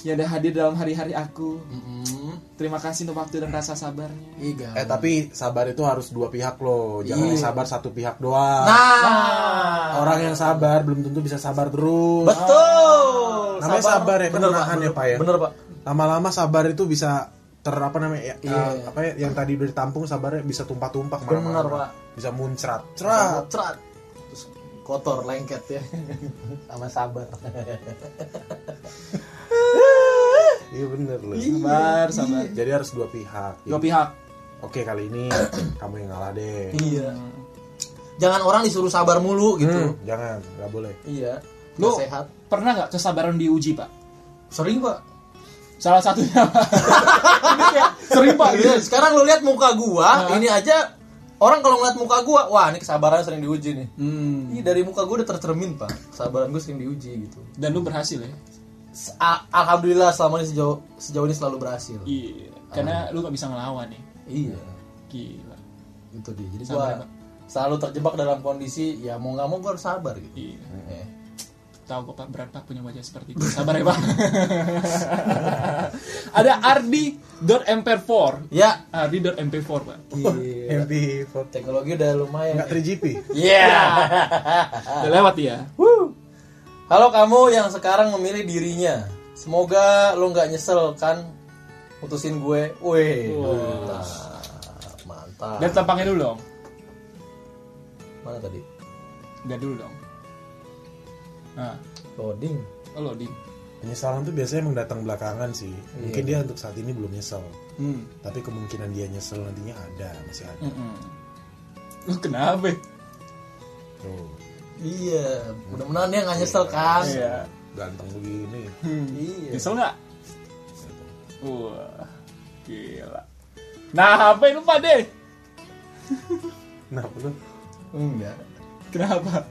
B: Ya udah hadir dalam hari-hari aku.
A: Mm-mm. Iya,
B: Terima kasih untuk waktu dan rasa sabarnya.
A: Ih, gawat.
C: Eh, tapi sabar itu harus dua pihak loh. Jangan sabar satu pihak doang.
A: Nah,
C: Orang yang sabar belum tentu bisa sabar terus.
A: betul.
C: Namanya sabar ya, kan
A: Bener,
C: menahan ya, Pak ya.
A: Bener Pak.
C: Lama-lama sabar itu bisa ter apa namanya? Ya, eh, apa ya, yang tadi udah ditampung sabarnya bisa tumpah-tumpah kemana-mana.
A: Bener, Pak.
C: Bisa muncrat. Cerat.
A: Cerat. Terus kotor lengket ya. Sama sabar.
C: Iya bener loh.
B: Sabar, sabar.
C: Jadi harus dua pihak.
A: Iya.
B: Dua pihak.
C: Oke kali ini kamu yang ngalah deh.
A: iya. Jangan orang disuruh sabar mulu gitu.
C: Hmm, jangan, nggak boleh.
A: Iya.
B: Lu-
A: sehat.
B: Pernah nggak kesabaran diuji, Pak?
A: Sering Pak.
B: Salah satunya. Pak. Ini kayak Sering, Pak. gitu.
A: Iya, sekarang lu lihat muka gua, ini aja orang kalau ngeliat muka gua, wah ini kesabaran sering diuji nih.
B: Hmm.
A: Ih, dari muka gua udah tercermin, Pak. Kesabaran gua sering diuji gitu.
B: Dan lu berhasil ya?
A: S- a- Alhamdulillah selama ini sejauh sejauh ini selalu berhasil.
B: Iya. Karena lu nggak bisa ngelawan nih.
A: Iya,
B: Gila.
A: itu dia. Jadi
B: Sabar,
A: gua selalu terjebak dalam kondisi ya mau nggak mau gua harus sabar gitu.
B: Iya.
A: Eh.
B: Tahu kok Pak berat Pak punya wajah seperti itu. Sabar ya Pak. Ada ardi.mp4.
A: Ya,
B: Ardi.mp4 Pak.
A: iya.
C: MP
A: teknologi udah lumayan.
C: nggak
A: ya.
C: 3GP.
A: Iya.
B: Udah lewat ya.
A: Halo kamu yang sekarang memilih dirinya. Semoga lo nggak nyesel kan putusin gue. Weh. Mantap. Mantap.
B: Dan tampangnya dulu dong.
A: Mana tadi?
B: Udah dulu dong. Nah,
A: Loading.
B: oh loading.
C: Penyesalan tuh biasanya emang datang belakangan sih. Mungkin dia untuk saat ini belum nyesel,
B: Hmm.
C: tapi kemungkinan dia nyesel nantinya ada, masih ada.
B: Mm-mm. Lu kenapa?
C: Tuh,
A: Iya, mudah-mudahan dia nggak nyesel kan.
B: Iya.
C: ganteng begini.
A: Iya.
B: Nyesel nggak? Wah, gila. Nah, apa lu Pak deh?
C: Nah, lu
A: Enggak.
B: Kenapa?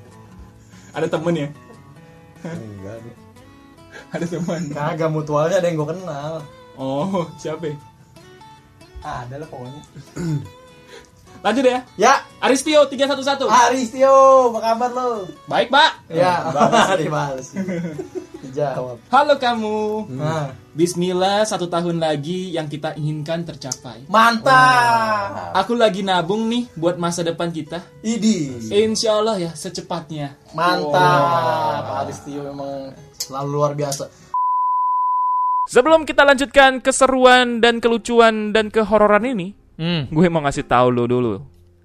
B: Ada temen ya?
C: enggak nih.
B: Ada teman.
A: Kagak mutualnya ada yang gue kenal.
B: Oh, siapa? ya?
A: Ada lah pokoknya.
B: Lanjut ya.
A: Ya,
B: Aristio 311.
A: Aristio, apa kabar lo?
B: Baik, Pak. Oh,
A: Ah. Ya, dibales. Dijawab.
B: Halo kamu.
A: Nah,
B: Bismillah, satu tahun lagi yang kita inginkan tercapai.
A: mantap.
B: Aku lagi nabung nih buat masa depan kita.
A: Idi.
B: Insya Allah ya, secepatnya.
A: Mantap, Pak Aristio memang selalu luar biasa.
D: Sebelum kita lanjutkan keseruan dan kelucuan dan kehororan ini,
E: Hmm,
D: gue mau ngasih tahu lo dulu.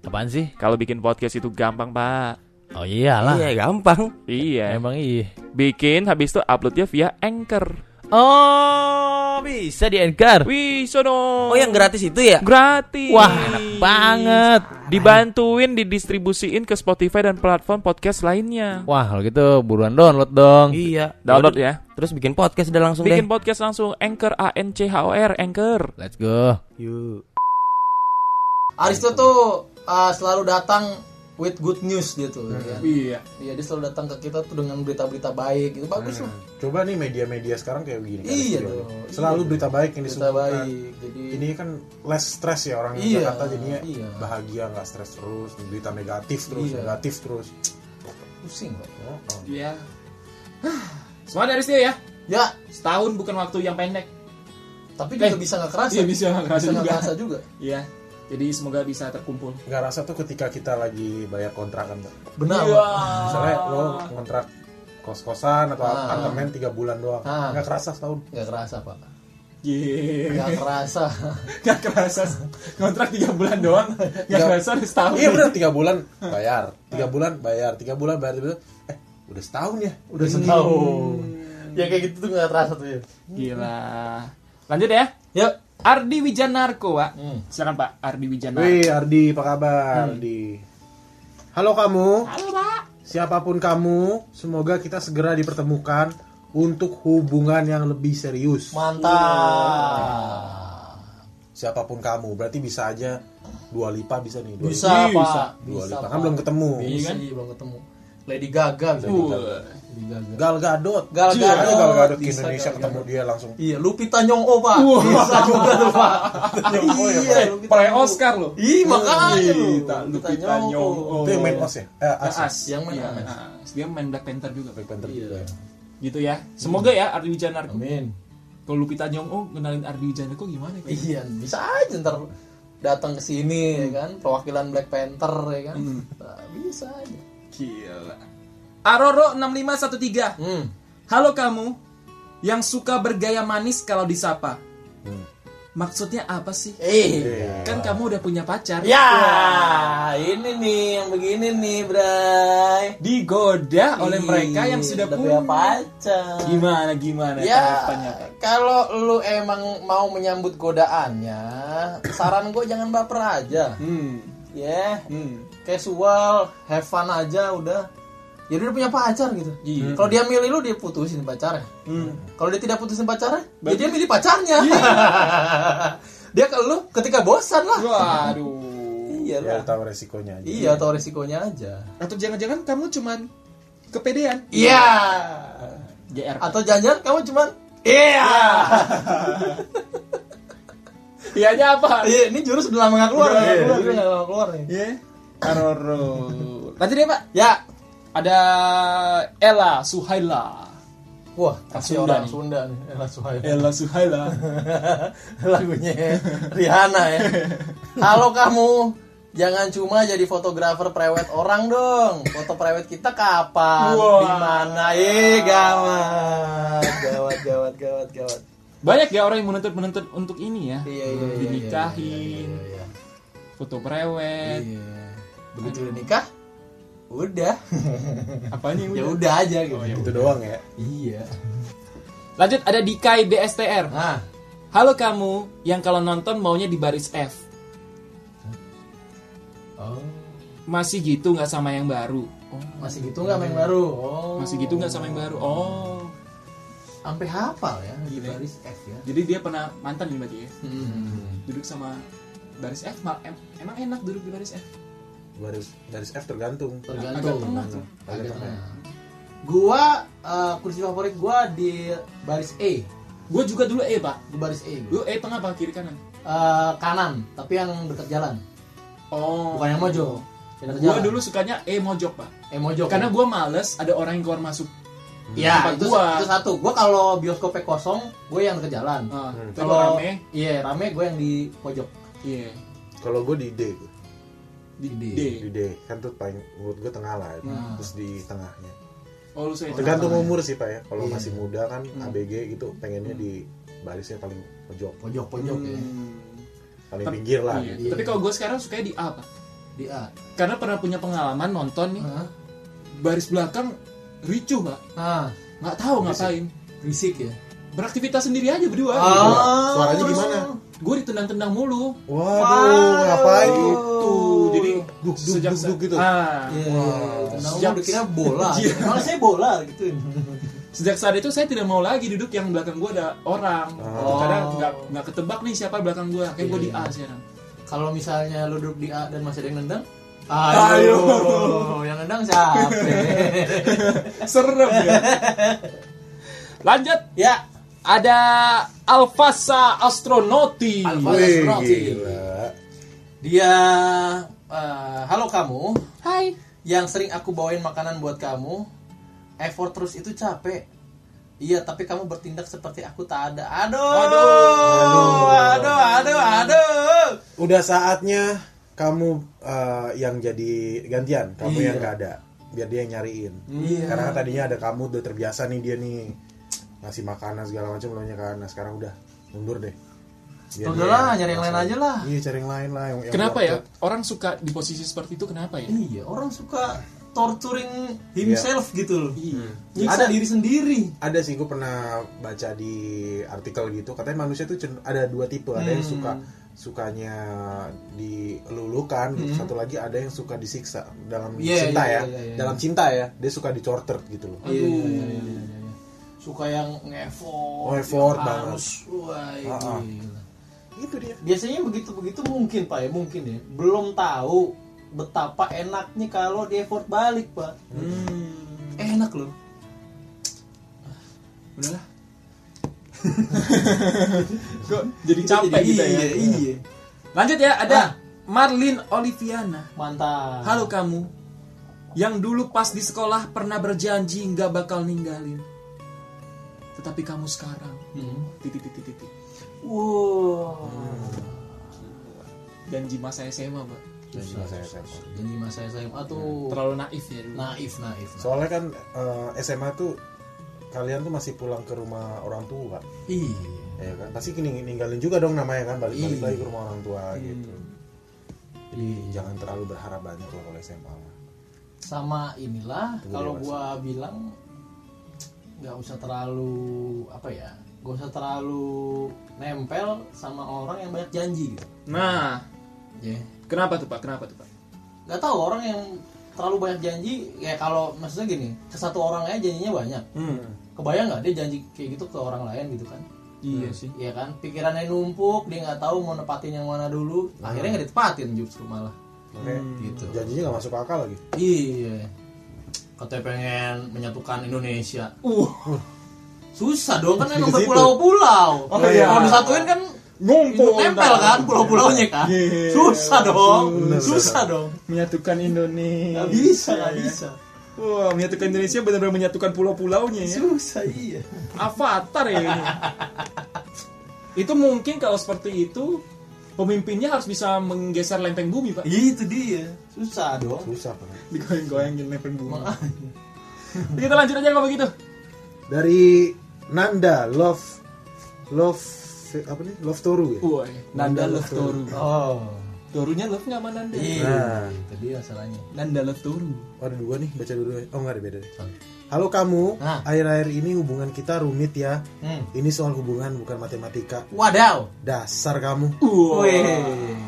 E: apaan sih?
D: Kalau bikin podcast itu gampang, Pak.
E: Oh iyalah.
F: Iya gampang. Eh.
D: Iya.
E: Emang iya.
D: Bikin habis itu uploadnya via Anchor.
E: Oh, bisa di anchor.
D: Wih, sono.
F: Oh yang gratis itu ya?
D: gratis.
E: Wah, enak banget.
D: Dibantuin didistribusiin ke Spotify dan platform podcast lainnya.
E: Wah, kalau gitu buruan download dong.
F: Iya.
D: Download
F: Waduh,
D: ya.
F: Terus bikin podcast udah langsung
D: Bikin
F: deh.
D: podcast langsung Anchor A N C H O R Anchor.
E: Let's go.
F: Yuk.
A: Aristo tuh uh, selalu datang with good news dia tuh ya.
B: Iya.
A: Iya, dia selalu datang ke kita tuh dengan berita-berita baik gitu. Bagus
B: Hmm.
A: lah.
C: Nah, coba nih media-media sekarang kayak begini. kan,
A: Iya
C: video.
A: dong.
C: Selalu berita baik yang
A: Berita
C: disuguhkan.
A: baik. Jadi
C: Ini kan less stress ya orang
A: Iya,
C: Jakarta jadinya
A: iya.
C: bahagia nggak stres terus, berita negatif terus,
A: Iya.
C: negatif terus.
A: pusing loh.
C: Oh, oh.
B: Iya. Semua dari sini ya.
A: Ya,
B: Setahun bukan waktu yang pendek.
A: tapi juga
B: Eh,
A: bisa nggak kerasa.
B: iya, bisa nggak kerasa
A: nggak
B: juga.
A: kerasa juga.
B: Iya. Jadi semoga bisa terkumpul.
C: Nggak rasa tuh ketika kita lagi bayar kontrakan Pak.
A: Benar.
B: Iya.
A: Pak.
C: Misalnya lo kontrak kos-kosan atau
A: Ah.
C: apartemen 3 bulan doang.
A: Ah.
C: Nggak kerasa setahun.
A: Nggak kerasa, Pak.
B: Yeay.
A: Nggak kerasa.
B: Gak kerasa kontrak 3 bulan doang. Gak kerasa udah setahun.
C: Iya benar 3 bulan bayar, 3 bulan bayar, 3 bulan bayar, 3 bulan. Eh, udah setahun ya, udah
A: Setahun. Ya kayak gitu tuh nggak kerasa tuh ya.
B: Gila. Lanjut ya.
A: Yuk.
B: Ardi Wijanarko, Pak.
A: Hmm.
B: Silakan Pak Ardi
A: Nah.
B: Wijanarko.
C: Wih Ardi, apa kabar Ardi? Halo kamu,
B: Halo, Pak.
C: siapapun kamu, semoga kita segera dipertemukan untuk hubungan yang lebih serius.
A: Mantap.
C: Siapapun kamu, berarti bisa aja dua lipa bisa nih. Dua
A: Iya. Bisa,
B: Bisa.
A: Pak.
C: lipa, dua
A: Bisa,
C: lipa.
A: Pak.
C: kan belum ketemu.
A: Iya kan? Iya, belum ketemu. Lady Gaga gitu. bisa
B: Uh.
A: Lady Gaga.
C: Gal Gadot,
A: Gal
C: Cie,
A: Gadot.
C: Gal Gadot ke
A: Bisa
C: Indonesia
A: Gal
C: ketemu
A: Gadot.
C: dia langsung.
A: Iya, Lupita Nyong'o, Pak.
B: Wah.
A: Bisa juga tuh, Pak.
C: Oh,
A: Iya,
B: Eh,
A: Lupita
B: pre
A: Nyong'o.
B: Oscar loh.
A: Ih, makanya lu.
B: Lupita, Lupita Nyong'o.
C: Itu yang main os ya? Eh, as.
B: As.
A: Yang main
B: Iya,
A: As.
B: As. Dia main Black Panther juga, Pak.
C: Black Panther
A: Iya.
C: juga ya.
B: Gitu ya. Semoga ya Ardi Wijanarko.
A: Amin.
B: Kalau Lupita Nyong'o kenalin Ardi Wijanarko gimana ya?
A: Iya, bisa aja ntar datang ke sini ya kan, perwakilan Black Panther ya kan. Nah, bisa aja.
B: Gila. Aroro 6513.
A: Hmm.
B: Halo kamu yang suka bergaya manis kalau disapa. Maksudnya apa sih?
A: Eh.
B: Kan kamu udah punya pacar.
A: Ya,
B: Iya.
A: ini nih yang begini nih, Bray.
B: Digoda oleh mereka yang
A: Ih,
B: sudah
A: udah
B: punya
A: pacar.
B: Gimana gimana
A: Ya,
B: tanggapannya, Pak?
A: kalau lu emang mau menyambut godaannya, saran gue jangan baper aja.
B: Hmm.
A: Ya,
B: Hmm.
A: casual, have fun aja udah. Jadi udah punya pacar gitu.
B: Iya.
A: Kalau dia milih lu dia putusin pacarnya.
B: Hmm. Iya.
A: Kalau dia tidak putusin pacarnya, ya dia milih pacarnya. dia ke lu ketika bosan lah.
B: Waduh.
A: Iya
C: Ya,
A: lah.
C: tahu resikonya aja.
A: Iya, atau resikonya aja.
B: Atau jangan-jangan kamu cuman kepedean?
A: Iya.
B: JR.
A: Atau jangan kamu cuman
B: Ya.
A: Iya.
B: Iyanya apa?
A: Iya, ini jurus udah lama gak keluar.
B: Udah
A: nih.
B: lama keluar
A: Jurus udah lama keluar nih.
B: Iya. Aroro. Lanjut ya, Pak.
A: Ya,
B: Ada Ella Suhaila.
A: Wah, kasih
B: Sunda
A: orang
B: nih.
A: Sunda nih. Ella Suhaila.
B: Ella Suhaila.
A: Lagunya Rihanna ya. Halo kamu, jangan cuma jadi fotografer prewed orang dong. Foto prewed kita kapan?
B: Wah.
A: Di mana? Eh, gawat. Gawat, gawat, gawat, gawat.
B: Banyak ya orang yang menuntut-menuntut untuk ini ya.
A: Iya, iya, iya.
B: Dinikahin, Eh.
A: iya, iya.
B: foto prewed,
A: Iya. Begitu udah nikah, udah.
B: apanya
A: ya
B: Iya. Oh, udah.
A: udah aja gitu.
C: Itu doang ya.
A: Iya.
B: Lanjut ada Dikai DSTR.
A: Nah,
B: Halo kamu yang kalau nonton maunya di baris F.
A: oh,
B: Masih gitu nggak sama yang baru? Oh,
A: masih gitu nggak main baru? Oh.
B: masih gitu nggak sama yang baru? Oh.
A: Sampai hafal ya di
B: Gila.
A: baris F ya.
B: Jadi dia pernah mantan nih berarti ya.
A: Hmm.
B: Duduk sama baris F mal- em- emang enak duduk di baris F.
C: Baris baris F tergantung.
B: Agak
A: Tergantung.
B: tengah tuh.
C: Agak
A: Agak
C: tengah.
A: tengah. Gua eh, kursi favorit gua di baris E,
B: Gue juga dulu E, Pak.
A: di baris E.
B: Lu
A: gua.
B: E tengah apa kiri kanan?
A: Eh, kanan, tapi yang dekat jalan,
B: Oh.
A: bukan yang mojo. Yang dekat
B: Gue
A: jalan.
B: dulu sukanya E mojok, Pak.
A: eh mojo.
B: Karena gue males ada orang yang keluar masuk. tempat
A: ya itu,
B: gua.
A: itu satu. Gua kalau bioskopnya kosong, gue yang dekat jalan.
B: Ah, itu kalau
A: Hmm. kalau
B: rame,
A: iya rame gue yang di pojok.
B: iya.
C: Kalau gue di D,
B: Di
A: Di
B: D.
C: di D kan tuh paling menurut gue tengah lah, ya. terus di tengahnya.
B: Oh, lu saya
C: Tergantung umur sih pak ya. Kalau masih muda kan ABG gitu pengennya di barisnya paling pojok,
A: Pojok pojok ya.
B: Hmm.
C: paling pinggir lah.
B: Iya.
C: gitu.
B: Tapi kalau gue sekarang sukanya di A, Pak.
A: Di A.
B: Karena pernah punya pengalaman nonton nih,
A: Hah?
B: baris belakang ricuh, Pak.
A: Nah,
B: Nggak tahu ngapain.
A: berisik ya.
B: Beraktivitas sendiri aja berdua.
C: Ah. Suaranya gimana?
B: Gue ditendang-tendang mulu.
C: Waduh, ngapain gitu?
B: Tuh, jadi
C: Duk, duk,
B: sejak
C: duk, duk gitu.
B: Ah,
A: Iya, Nah,
B: Siap.
A: udah kira bola. Malah saya bola gitu.
B: sejak saat itu saya tidak mau lagi duduk yang belakang gue ada orang.
C: Oh.
B: Karena nggak nggak
C: Iya.
B: ketebak nih siapa belakang gue. Kayak gue di A sekarang.
A: Kalau misalnya lu duduk di A dan masih ada yang nendang, Ayo, yang nendang siapa?
B: Serem ya. Lanjut.
A: ya,
B: Ada Alfasa Astronauti.
A: Alfasa.
C: Wih,
A: Astronauti.
C: gila.
A: dia eh, halo kamu
B: Hai.
A: yang sering aku bawain makanan buat kamu. Effort terus itu capek. Iya, tapi kamu bertindak seperti aku tak ada. Aduh, aduh, aduh, aduh, aduh.
C: Udah saatnya kamu eh, yang jadi gantian, kamu
A: Iya.
C: yang gak ada, biar dia yang nyariin. Karena tadinya ada kamu udah terbiasa nih dia nih ngasih makanan segala macam belumnya kan. Nah, sekarang udah mundur deh. Biar
A: Udah
C: dia
A: lah, nyari yang lain
C: masalah.
A: aja lah.
C: Iya, cari yang lain lah. Yang, yang
B: Kenapa
C: worth
B: ya
C: it.
B: orang suka di posisi seperti itu kenapa ya?
A: Iya, orang suka torturing himself gitu loh. Ada
C: Ada-
A: diri sendiri.
C: Ada sih, gue pernah baca di artikel gitu. Katanya manusia tuh cender- ada dua tipe. Ada yang suka
A: Hmm.
C: sukanya dilulukan, gitu. satu lagi ada yang suka disiksa dalam
A: Hmm. Iya,
C: cinta
A: iya,
C: ya,
A: iya, iya, iya.
C: dalam cinta ya. Dia suka dicorter gitu loh.
A: Iya, iya, iya, iya, iya. Suka yang nge-effort.
C: Oh, effort
A: yang
C: banget.
A: Iya, harus, wah,
C: Ah, ah.
A: gila.
B: Gitu
C: Itu dia.
A: Biasanya begitu-begitu mungkin, Pak ya, mungkin ya. Belum tahu betapa enaknya kalau di effort balik, Pak. Enak loh.
B: Eh, Udahlah. Kok jadi capek
A: Jadi,
B: gitu ya.
A: iya, iya.
B: Lanjut ya, ada
A: Ah.
B: Marlin Oliviana.
A: Mantap.
B: Halo kamu. Yang dulu pas di sekolah pernah berjanji nggak bakal ninggalin. Tetapi kamu sekarang
A: Hmm.
B: titik titik titik.
A: Wow.
B: Janji masa SMA, Mbak.
A: Iya,
C: Iya,
A: Jadi masa SMA tuh
B: Terlalu naif ya dulu.
A: naif, naif. naif.
C: Soalnya kan eh, SMA tuh kalian tuh masih pulang ke rumah orang tua kan,
A: Iya.
C: ya kan? Pasti kini ninggalin juga dong namanya kan balik balik
A: Iya.
C: lagi ke rumah orang tua gitu. Jadi jangan terlalu berharap banyak lah kalau SMA.
A: sama inilah
C: Tunggu
A: kalau
C: dewasa.
A: gua bilang nggak usah terlalu apa ya gak usah terlalu nempel sama orang yang banyak janji gitu
B: Nah,
A: ya
B: kenapa tuh, Pak? Kenapa tuh, Pak?
A: nggak tahu orang yang terlalu banyak janji ya kalau maksudnya gini ke satu orang aja janjinya banyak
B: Hmm.
A: kebayang nggak dia janji kayak gitu ke orang lain gitu kan
B: Iya sih.
A: Iya kan pikirannya numpuk dia nggak tahu mau nepatin yang mana dulu akhirnya nggak ditepatin justru malah
C: Makanya
A: gitu
C: janjinya nggak masuk akal lagi.
A: iya katanya pengen menyatukan Indonesia
B: Uh,
A: Susah dong kan emang
C: Di situ.
A: berpulau-pulau.
C: Oh, iya.
A: Kalau disatuin kan
B: ngumpul.
A: nempel kan pulau-pulaunya kan.
B: Iya.
A: Susah dong.
C: Bener,
A: Susah
C: bener.
A: dong.
B: Menyatukan Indonesia. Iya,
A: Gak bisa, gak bisa.
B: Wah, menyatukan Indonesia benar-benar menyatukan pulau-pulaunya ya.
A: Susah iya.
B: Avatar ya ini. itu mungkin kalau seperti itu pemimpinnya harus bisa menggeser lempeng bumi, Pak.
A: Itu dia. Susah dong.
C: Susah banget.
B: Digoyang-goyangin lempeng bumi. Kita lanjut aja kalau begitu.
C: Dari Nanda Love Love apa nih Love Toru ya.
B: Wah, Nanda Love Toru.
A: Oh.
B: Torunya love nggak sama Nanda?
A: Iya. Itu dia masalahnya.
B: Nanda Love Toru.
C: Oh, ada dua Nah. nih baca dulu. Oh nggak ada beda deh. Halo kamu,
A: Nah.
C: akhir-akhir ini hubungan kita rumit ya.
A: Hmm.
C: Ini soal hubungan bukan matematika.
A: Wadaw.
C: Dasar kamu.
B: Wah.
A: Wih.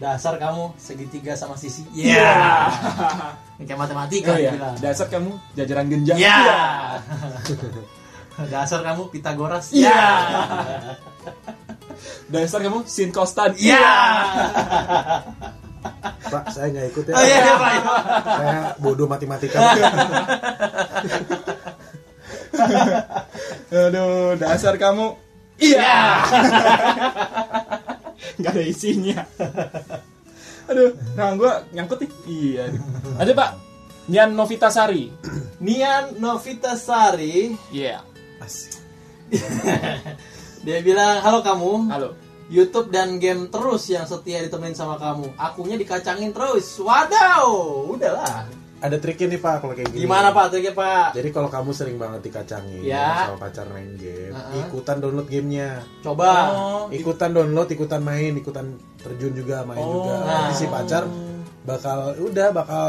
A: Dasar kamu segitiga sama sisi. Iya. Ini Kayak
B: Oh,
A: matematika gitu
B: iya.
A: dibilang.
B: Dasar kamu jajaran genjang. Iya.
A: Ya. Dasar kamu Pitagoras.
B: Iya.
A: Ya.
B: Dasar kamu sin Iya. konstan.
C: Pak, saya nggak ikut ya.
A: Oh, iya, iya, Pak, iya, Pak.
C: Saya bodoh matematika.
B: Aduh, dasar kamu. Iya. Gak ada isinya. Aduh, nah gue nyangkut nih. Iya. Ada Pak. Nian Novita Sari.
A: Nian Novita Sari
B: Iya.
C: Asik.
A: dia bilang halo kamu
B: Halo.
A: YouTube dan game terus yang setia ditemenin sama kamu akunya dikacangin terus wadaw udahlah
C: Ada triknya nih Pak kalau kayak gini.
A: gimana pak triknya pak
C: Jadi kalau kamu sering banget dikacangin
A: Ya.
C: sama pacar main game,
A: Uh-uh.
C: ikutan download gamenya,
A: coba
C: ikutan download, ikutan main, ikutan terjun juga, main
A: Oh.
C: juga.
A: Ah.
C: Nanti si pacar bakal udah bakal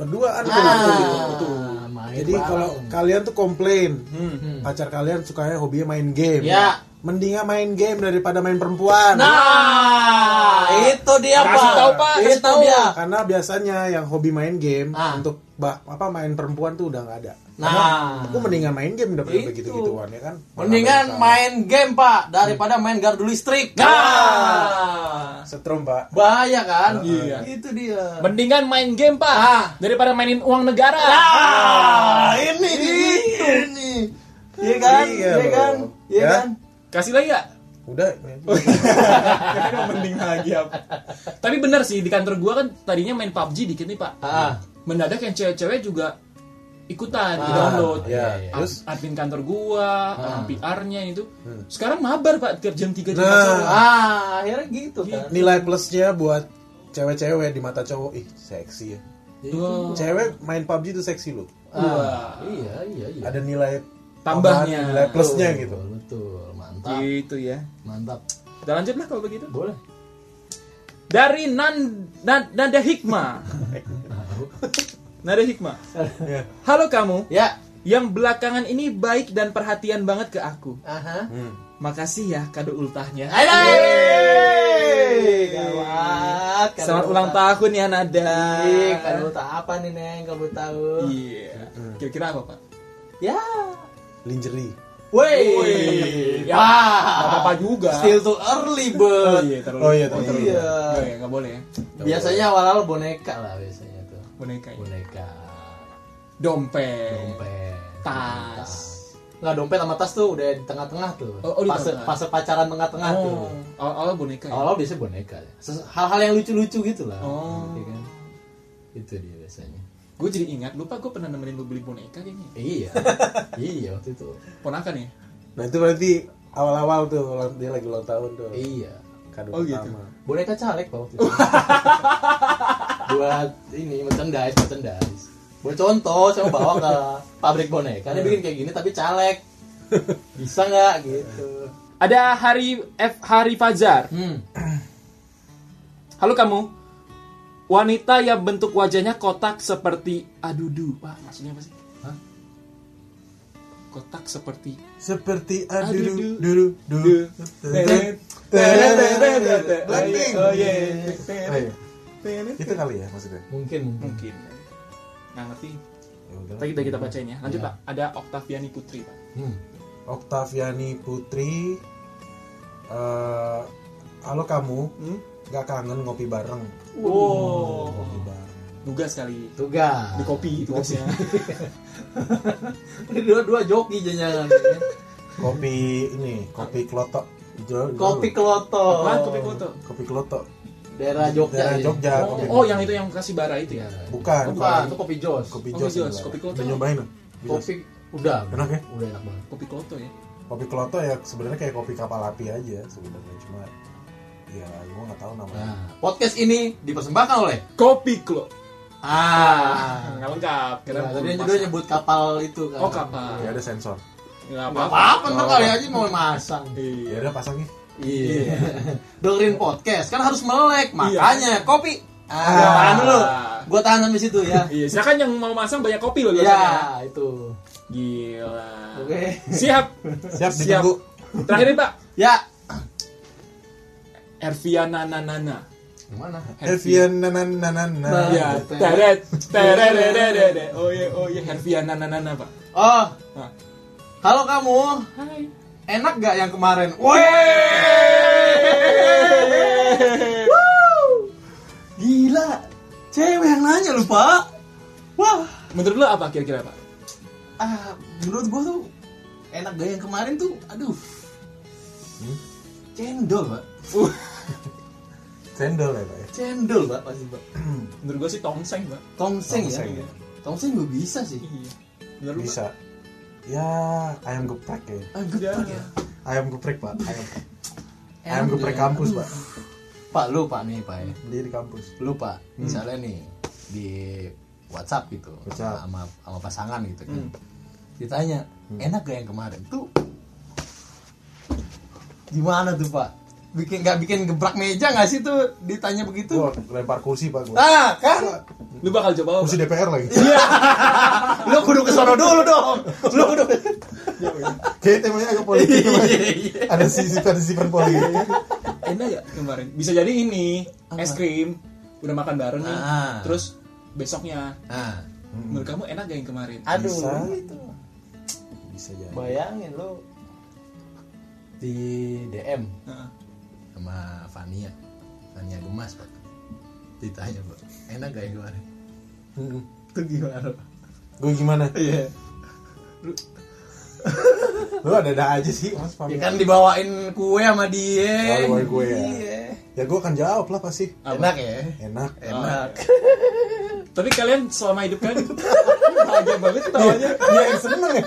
C: berduaan tuh, tuh, gitu, tuh.
A: main
C: Jadi
A: bareng.
C: kalau kalian tuh komplain,
B: Hmm.
C: pacar kalian sukanya hobinya main game.
A: Ya.
C: mendingan main game daripada main perempuan.
A: Nah, itu dia
C: Kasih
A: pak.
C: tahu, Pak.
A: Kasih tahu dia.
C: Karena biasanya yang hobi main game
A: Ah.
C: untuk bah, apa main perempuan tuh udah nggak ada.
A: Nah.
C: Karena aku mendingan main game daripada
A: Itu.
C: begitu gituan ya kan.
A: Mendingan main game pak daripada main gardu
B: Ya.
A: listrik. Nah,
C: setrum pak.
A: bahaya kan?
B: Iya.
A: Itu dia.
B: Mendingan main game, Pak,
A: Ah.
B: daripada mainin uang negara.
A: Ah, ini itu nih. Iya kan?
C: Iya,
A: Iya kan?
C: Bro.
A: Iya
C: Ya?
A: kan?
B: Kasih lagi nggak?
C: Udah.
G: mending lagi apa?
B: Tapi benar sih di kantor gua kan tadinya main PUBG dikit nih, Pak.
A: Ah.
B: Mendadak yang cewek-cewek juga ikutan di-download.
A: Iya,
C: ya,
B: Ad-
C: terus?
B: admin kantor gua,
A: Ah.
B: orang PR-nya itu.
A: Hmm.
B: Sekarang mabar, Pak, tiap jam 3 jam
C: Nah.
B: empat sore.
A: Ah, akhirnya gitu kan.
C: Iya. Nilai plusnya buat cewek-cewek di mata cowok ih seksi ya.
A: Gitu.
B: Wah.
C: Cewek main PUBG itu seksi loh.
B: Wah.
A: Iya, iya, iya.
C: Ada nilai
B: Oh, Tambahnya. Oh.
C: tambahan, nilai plusnya
A: Betul,
C: gitu.
A: Betul, mantap.
B: Gitu ya.
A: Mantap.
B: Kita lanjut lah kalau begitu.
A: Boleh.
B: Dari Nan, Nan- Nada Hikmah. Nada Hikmah.
A: Iya.
B: Halo kamu
A: Ya.
B: yang belakangan ini baik dan perhatian banget ke aku.
A: Aha.
B: Makasih ya kado ultahnya.
A: Ada.
B: Selamat ulang Iya, tahun ya Nada.
A: Kalau tak apa nih Neng, kalau tahu.
B: Iya. Kira-kira apa Pak?
A: Ya.
C: Lingerie.
A: Woi.
B: Ya, apa juga.
A: Still too early,
B: Oh
A: bud.
B: iya, terlalu.
C: Oh iya, terlalu.
A: Iya.
B: Oh, iya, nggak boleh ya.
A: Biasanya awal-awal boneka lah biasanya tuh.
B: Boneka. ya.
A: Boneka,
B: Dompet.
A: dompet,
B: Tas.
A: Enggak dompet sama tas tuh udah di tengah-tengah tuh.
B: Oh, oh, di
A: fase
B: tengah.
A: fase pacaran tengah-tengah tuh.
B: Oh, awal-awal boneka. Ya?
A: Awal-awal biasanya boneka. Ses- Hal-hal yang lucu-lucu gitu lah.
B: Oh.
A: Iya kan? Itu dia biasanya.
B: Gue jadi ingat, lupa gue pernah nemenin lu beli boneka kayaknya.
A: Iya. iya waktu itu.
B: Ponakan ya?
C: Nah itu berarti awal-awal tuh ulang- dia lagi ulang tahun tuh.
A: Iya.
C: Kado
B: Oh, gitu.
C: pertama.
A: Boneka caleg pak waktu itu. Buat ini merchandise, merchandise. Buat contoh, saya mau bawa ke pabrik boneka,
B: Iya.
A: dia bikin kayak gini tapi caleg. Bisa nggak gitu?
B: Ada Hari F Hari Fajar.
A: Hmm.
B: Halo kamu. Wanita yang bentuk wajahnya kotak seperti adudu. Wah, maksudnya apa sih?
A: Hah?
B: Kotak seperti
C: Seperti
B: Adudu,
C: adudu dulu dulu.
B: adudu.
C: Blackpink.
B: Oh, iya.
C: Oh, iya. Itu kali ya maksudnya.
A: Mungkin mungkin.
B: eh. Mungkin. Nggak ngerti.
C: Ya udah.
B: Tapi kita kita bacain ya. Lanjut, Pak. Ada Octaviani Putri, Pak.
A: Hmm.
C: Oktaviani Putri. eh halo kamu,
B: Hmm?
C: gak kangen ngopi bareng?
B: Wow.
C: Ngopi bareng.
B: Duga sekali.
A: Tugas.
B: Di kopi itu
A: Ini dua-dua joki jangan.
C: Kopi ini, kopi klotok. Jauh- jauh.
A: kopi keloto.
B: Apaan kopi foto?
C: kopi klotok.
A: Daerah Jogja.
C: Daerah
A: ini.
C: Jogja.
B: Oh,
C: kopi-
B: oh, yang itu yang kasih bara itu ya.
C: Bukan,
A: Bukan, itu kopi jos.
C: kopi
B: Kopi
C: jos.
B: jos,
C: yang
B: kopi
C: bilang.
B: klotok.
C: Udah nyobain loh. Kopi jos.
A: Kopi udah.
C: Enak ya?
A: Udah enak banget.
B: Kopi kloto ya.
C: Kopi klotok ya sebenarnya kayak kopi kapal api aja sebenarnya cuma ya gue nggak tahu namanya.
A: Nah, podcast ini dipersembahkan oleh
B: Kopi klo.
A: Ah.
B: Nggak lengkap. Karena
A: Nah, tadi
B: belum
A: yang
B: pasang.
A: judul nyebut kapal itu kan.
B: Oh kapal.
C: Ya ada sensor.
B: Nggak
A: Nggak
B: apa-apa.
A: apa-apa
C: Oh.
A: ntar kali aja mau masang.
C: Ya udah pasang ya.
A: Iya. Dengerin podcast kan harus
C: Iya.
A: melek, makanya kopi. Ah, tahan dulu. Gua tahan sampai situ ya.
B: Iya, silakan yang mau masang banyak kopi loh
A: Iya,
B: biasanya.
A: itu.
B: Gila.
A: Oke.
B: Siap.
C: Siap, ditunggu.
B: Terakhir nih, Pak.
A: Ya.
B: Erviana Nanana.
A: Gimana?
C: Evian nanan nanan nanan.
A: Iya.
B: Ya, teret, tererererere. Oh iya, oh iya, Herviana Nanana, Pak.
A: Oh,
B: Nah.
A: halo kamu. Enak gak yang kemarin? Woi. Wow. Gila. Cewek yang nanya lu, Pak. Wah.
B: Menurut lo apa kira-kira, Pak?
A: Ah, menurut gua tuh enak gak yang kemarin tuh. Aduh. Cendol, Pak.
B: Uh.
C: Sendol ya pak ya.
A: Cendol, Pak, pasti, Pak.
B: Menurut gue sih tongseng, Pak.
A: Tongseng,
C: Tongseng,
A: ya.
C: ya.
A: Tongseng gua bisa sih.
B: Iya. Menurut lu,
C: Bisa. Ya ayam geprek
A: Ah,
C: ya.
B: Pak? Ya.
A: geprek ya.
C: Ayam geprek pak. Ayam, ayam
A: Enak
C: geprek
A: gak?
C: kampus pak.
A: Pak lu Pak nih Pak ya.
C: Beli di kampus.
A: Lu Pak,
C: Hmm.
A: misalnya nih di WhatsApp gitu
C: WhatsApp. Hmm.
A: sama sama pasangan gitu kan.
B: Hmm.
A: Ditanya, enak gak yang kemarin? Tuh. Gimana tuh Pak? Bikin nggak bikin gebrak meja nggak sih tuh ditanya begitu?
C: Gue lempar kursi pak gue.
A: Nah, kan
B: Lu bakal coba apa?
C: Kursi
B: Pak?
C: DPR lagi.
A: lu kudu ke sono dulu dong. Lu kudu
C: Kayak temanya agak
A: Iya,
C: politik. Ada sisi ada sifat politik.
B: enak ya kemarin bisa jadi ini es krim udah makan bareng nih
A: Ah.
B: terus besoknya
A: Nah,
B: menurut kamu enak gak yang kemarin
A: aduh
C: Bisa.
A: itu.
C: Bisa jadi.
A: Bayangin lu di DM
B: Heeh.
A: sama Fania. Fania gemas, Pak. Ditanya, Pak. Enak gak yang kemarin? Itu gimana, Pak?
C: Gue gimana?
A: Iya.
C: Lu ada-ada aja sih, Mas Pam.
A: Ya kan dibawain kue sama dia.
C: Oh, dibawain kue ya. Ah.
A: Iya.
C: Ya gue akan jawab lah pasti.
A: Enak ya?
C: Enak.
A: Enak.
B: tapi kalian selama hidup kalian bahagia banget
A: Iya.
B: tawanya
C: Dia yang seneng ya.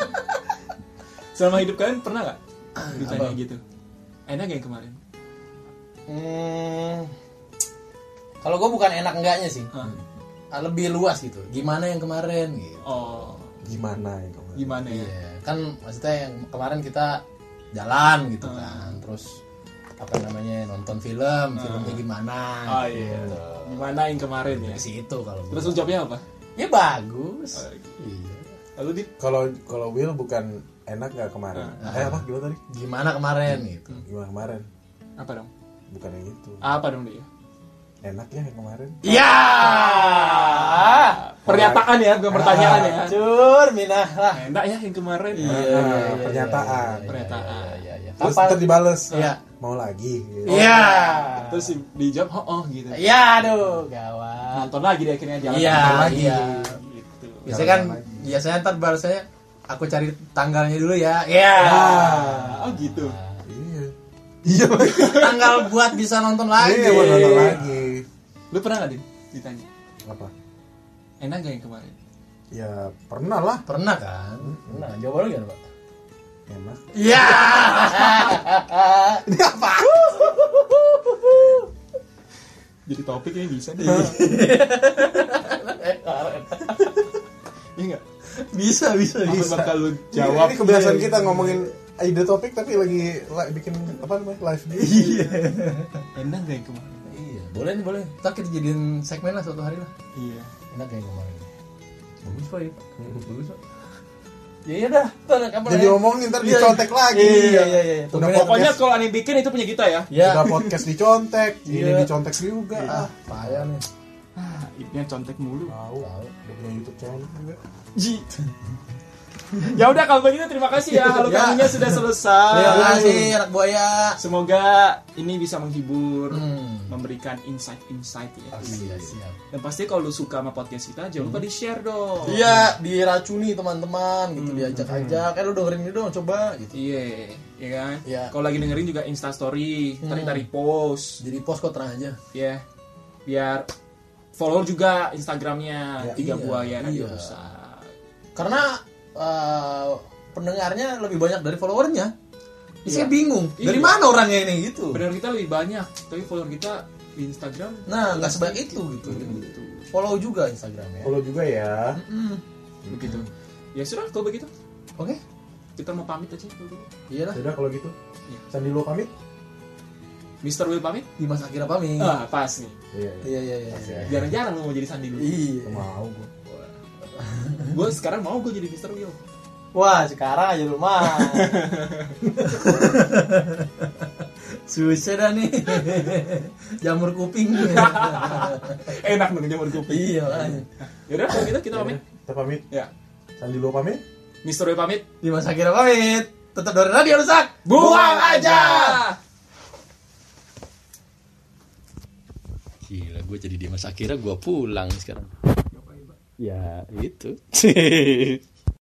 B: selama hidup kalian pernah gak ditanya
A: apa?
B: gitu enak gak yang kemarin
A: Hmm, kalau gue bukan enak enggaknya sih.
B: Hah.
A: Ah, Lebih luas gitu. Gimana yang kemarin gitu.
B: oh
C: Gimana ya kamu?
B: gimana ya
A: Iya, kan maksudnya yang kemarin kita jalan gitu kan, terus apa namanya nonton film, filmnya gimana?
B: oh iya gimana yang kemarin ya
A: Di situ kalau
B: terus
A: gua.
B: lu jawabnya apa
A: ya bagus. Iya.
B: lalu di
C: Kalau kalau Will bukan enak nggak kemarin?
A: Ah,
C: Eh apa gimana tadi?
A: Gimana kemarin gitu?
C: Gimana kemarin?
B: apa dong
C: Bukan yang itu.
B: apa dong dia
C: Enak ya yang kemarin?
A: Iya.
B: Ah, pernyataan ya bukan pertanyaan ya
A: Cur, minah lah.
B: enak ya yang kemarin
C: Nah, pernyataan.
B: pernyataan
A: Iya, iya.
C: Terus
A: Kapan?
C: ntar dibales. Ah,
A: Iya.
C: Mau lagi. gitu.
A: Iya.
B: terus di- dijawab oh oh gitu
A: Iya, aduh, gawat.
B: nonton lagi di akhirnya jalan
A: Iya,
B: nonton lagi
A: iya.
B: gitu
A: Biasanya kan biasanya ntar balasnya aku cari tanggalnya dulu ya. Iya.
B: Ah, oh gitu
C: Iya. Iya. Bang.
A: Tanggal buat bisa nonton lagi.
C: Iya, buat nonton lagi.
B: lu pernah gak din ditanya
C: Apa?
B: enak gak yang kemarin
C: Ya pernah lah. Ya,
A: Pernah kan? Pernah. Jawaban lu gimana, Pak?
C: Enak.
A: Iya.
C: Ini apa?
B: jadi topiknya bisa nih Eh, iya nggak
A: bisa, bisa,
B: apa
A: bisa.
B: bakal lu
C: Jawab.
B: jawab Iya.
C: Ini kebiasaan kita ngomongin ide topik tapi lagi li- bikin apa namanya live Iya.
B: enak gak yang kemarin
A: Iya, boleh nih, boleh. Ntar kita jadiin segmen lah suatu hari lah.
B: iya
A: Enak kayak kemarin. Bagus, Pak. Ya, Pak. Bagus, Pak. Ya
B: iya
A: ya dah, Ntar kapan
C: Jadi
A: ya?
C: ngomongin ntar dicontek lagi.
A: Iya, iya, iya.
C: Udah
A: Tumben.
B: pokoknya
C: pokoknya
B: kalau aneh bikin itu punya kita ya
A: Ya.
C: udah podcast dicontek, ini
A: Iya.
C: dicontek juga. Ah,
A: Payah nih.
B: ah ipnya contek mulu
C: tahu. Udah punya YouTube channel juga.
B: Ji. ya udah kalau begitu terima kasih ya halo
A: Ya.
B: kamunya sudah
C: Ah, Ya,
B: selesai
A: Terima kasih anak buaya.
B: Semoga ini bisa menghibur,
A: Hmm.
B: memberikan insight-insight ya.
A: Iya, siap.
B: Dan pasti kalau lu suka sama podcast kita, jangan lupa di-share dong.
A: Iya, diracuni teman-teman gitu diajak-ajak. Eh lu dengerin ini dong coba gitu.
B: Iya, ya kan?
A: Iya. Hmm.
B: Kalau lagi dengerin juga Insta story, tarik-tarik post,
A: Jadi post kok tenang aja.
B: ya. Biar follow juga Instagramnya
C: Ya,
B: Tiga
A: iya,
B: Buaya kan Radio
A: iya.
B: Rusa.
A: Karena eh, pendengarnya lebih banyak dari followernya. Jadi Saya
B: Iya.
A: bingung, dari
B: Iya.
A: mana orangnya ini gitu.
B: Benar kita lebih banyak, tapi follower kita di Instagram
A: Nah, nggak sebanyak itu gitu.
B: begitu.
A: Follow juga Instagramnya.
C: Follow juga ya.
B: Begitu. Ya sudah, kalau begitu
A: Oke,
B: kita mau pamit aja gitu. dulu.
A: iyalah.
C: Udah kalau gitu.
B: Iya.
C: Sandi lu pamit?
B: Mr. Will pamit?
A: Dimas Akira pamit.
B: Ah, pas nih.
C: Iya.
A: Iya iya iya.
B: Jarang-jarang lu mau jadi sandi dulu.
A: Iya.
C: Mau gua.
B: gue sekarang mau gue jadi Mr. Will
A: Wah, sekarang aja rumah. Susah dah nih. Jamur kuping.
B: enak dong jamur kuping
A: iya, makanya.
B: yaudah kalau gitu kita pamit
C: Kita pamit.
B: ya
C: Sandi lu pamit?
B: Mr. Will pamit
A: Dimas Akira pamit. Tetap dari radio rusak. Gila, gue Gitu. jadi Dimas Akira, gue pulang sekarang. Ya, itu.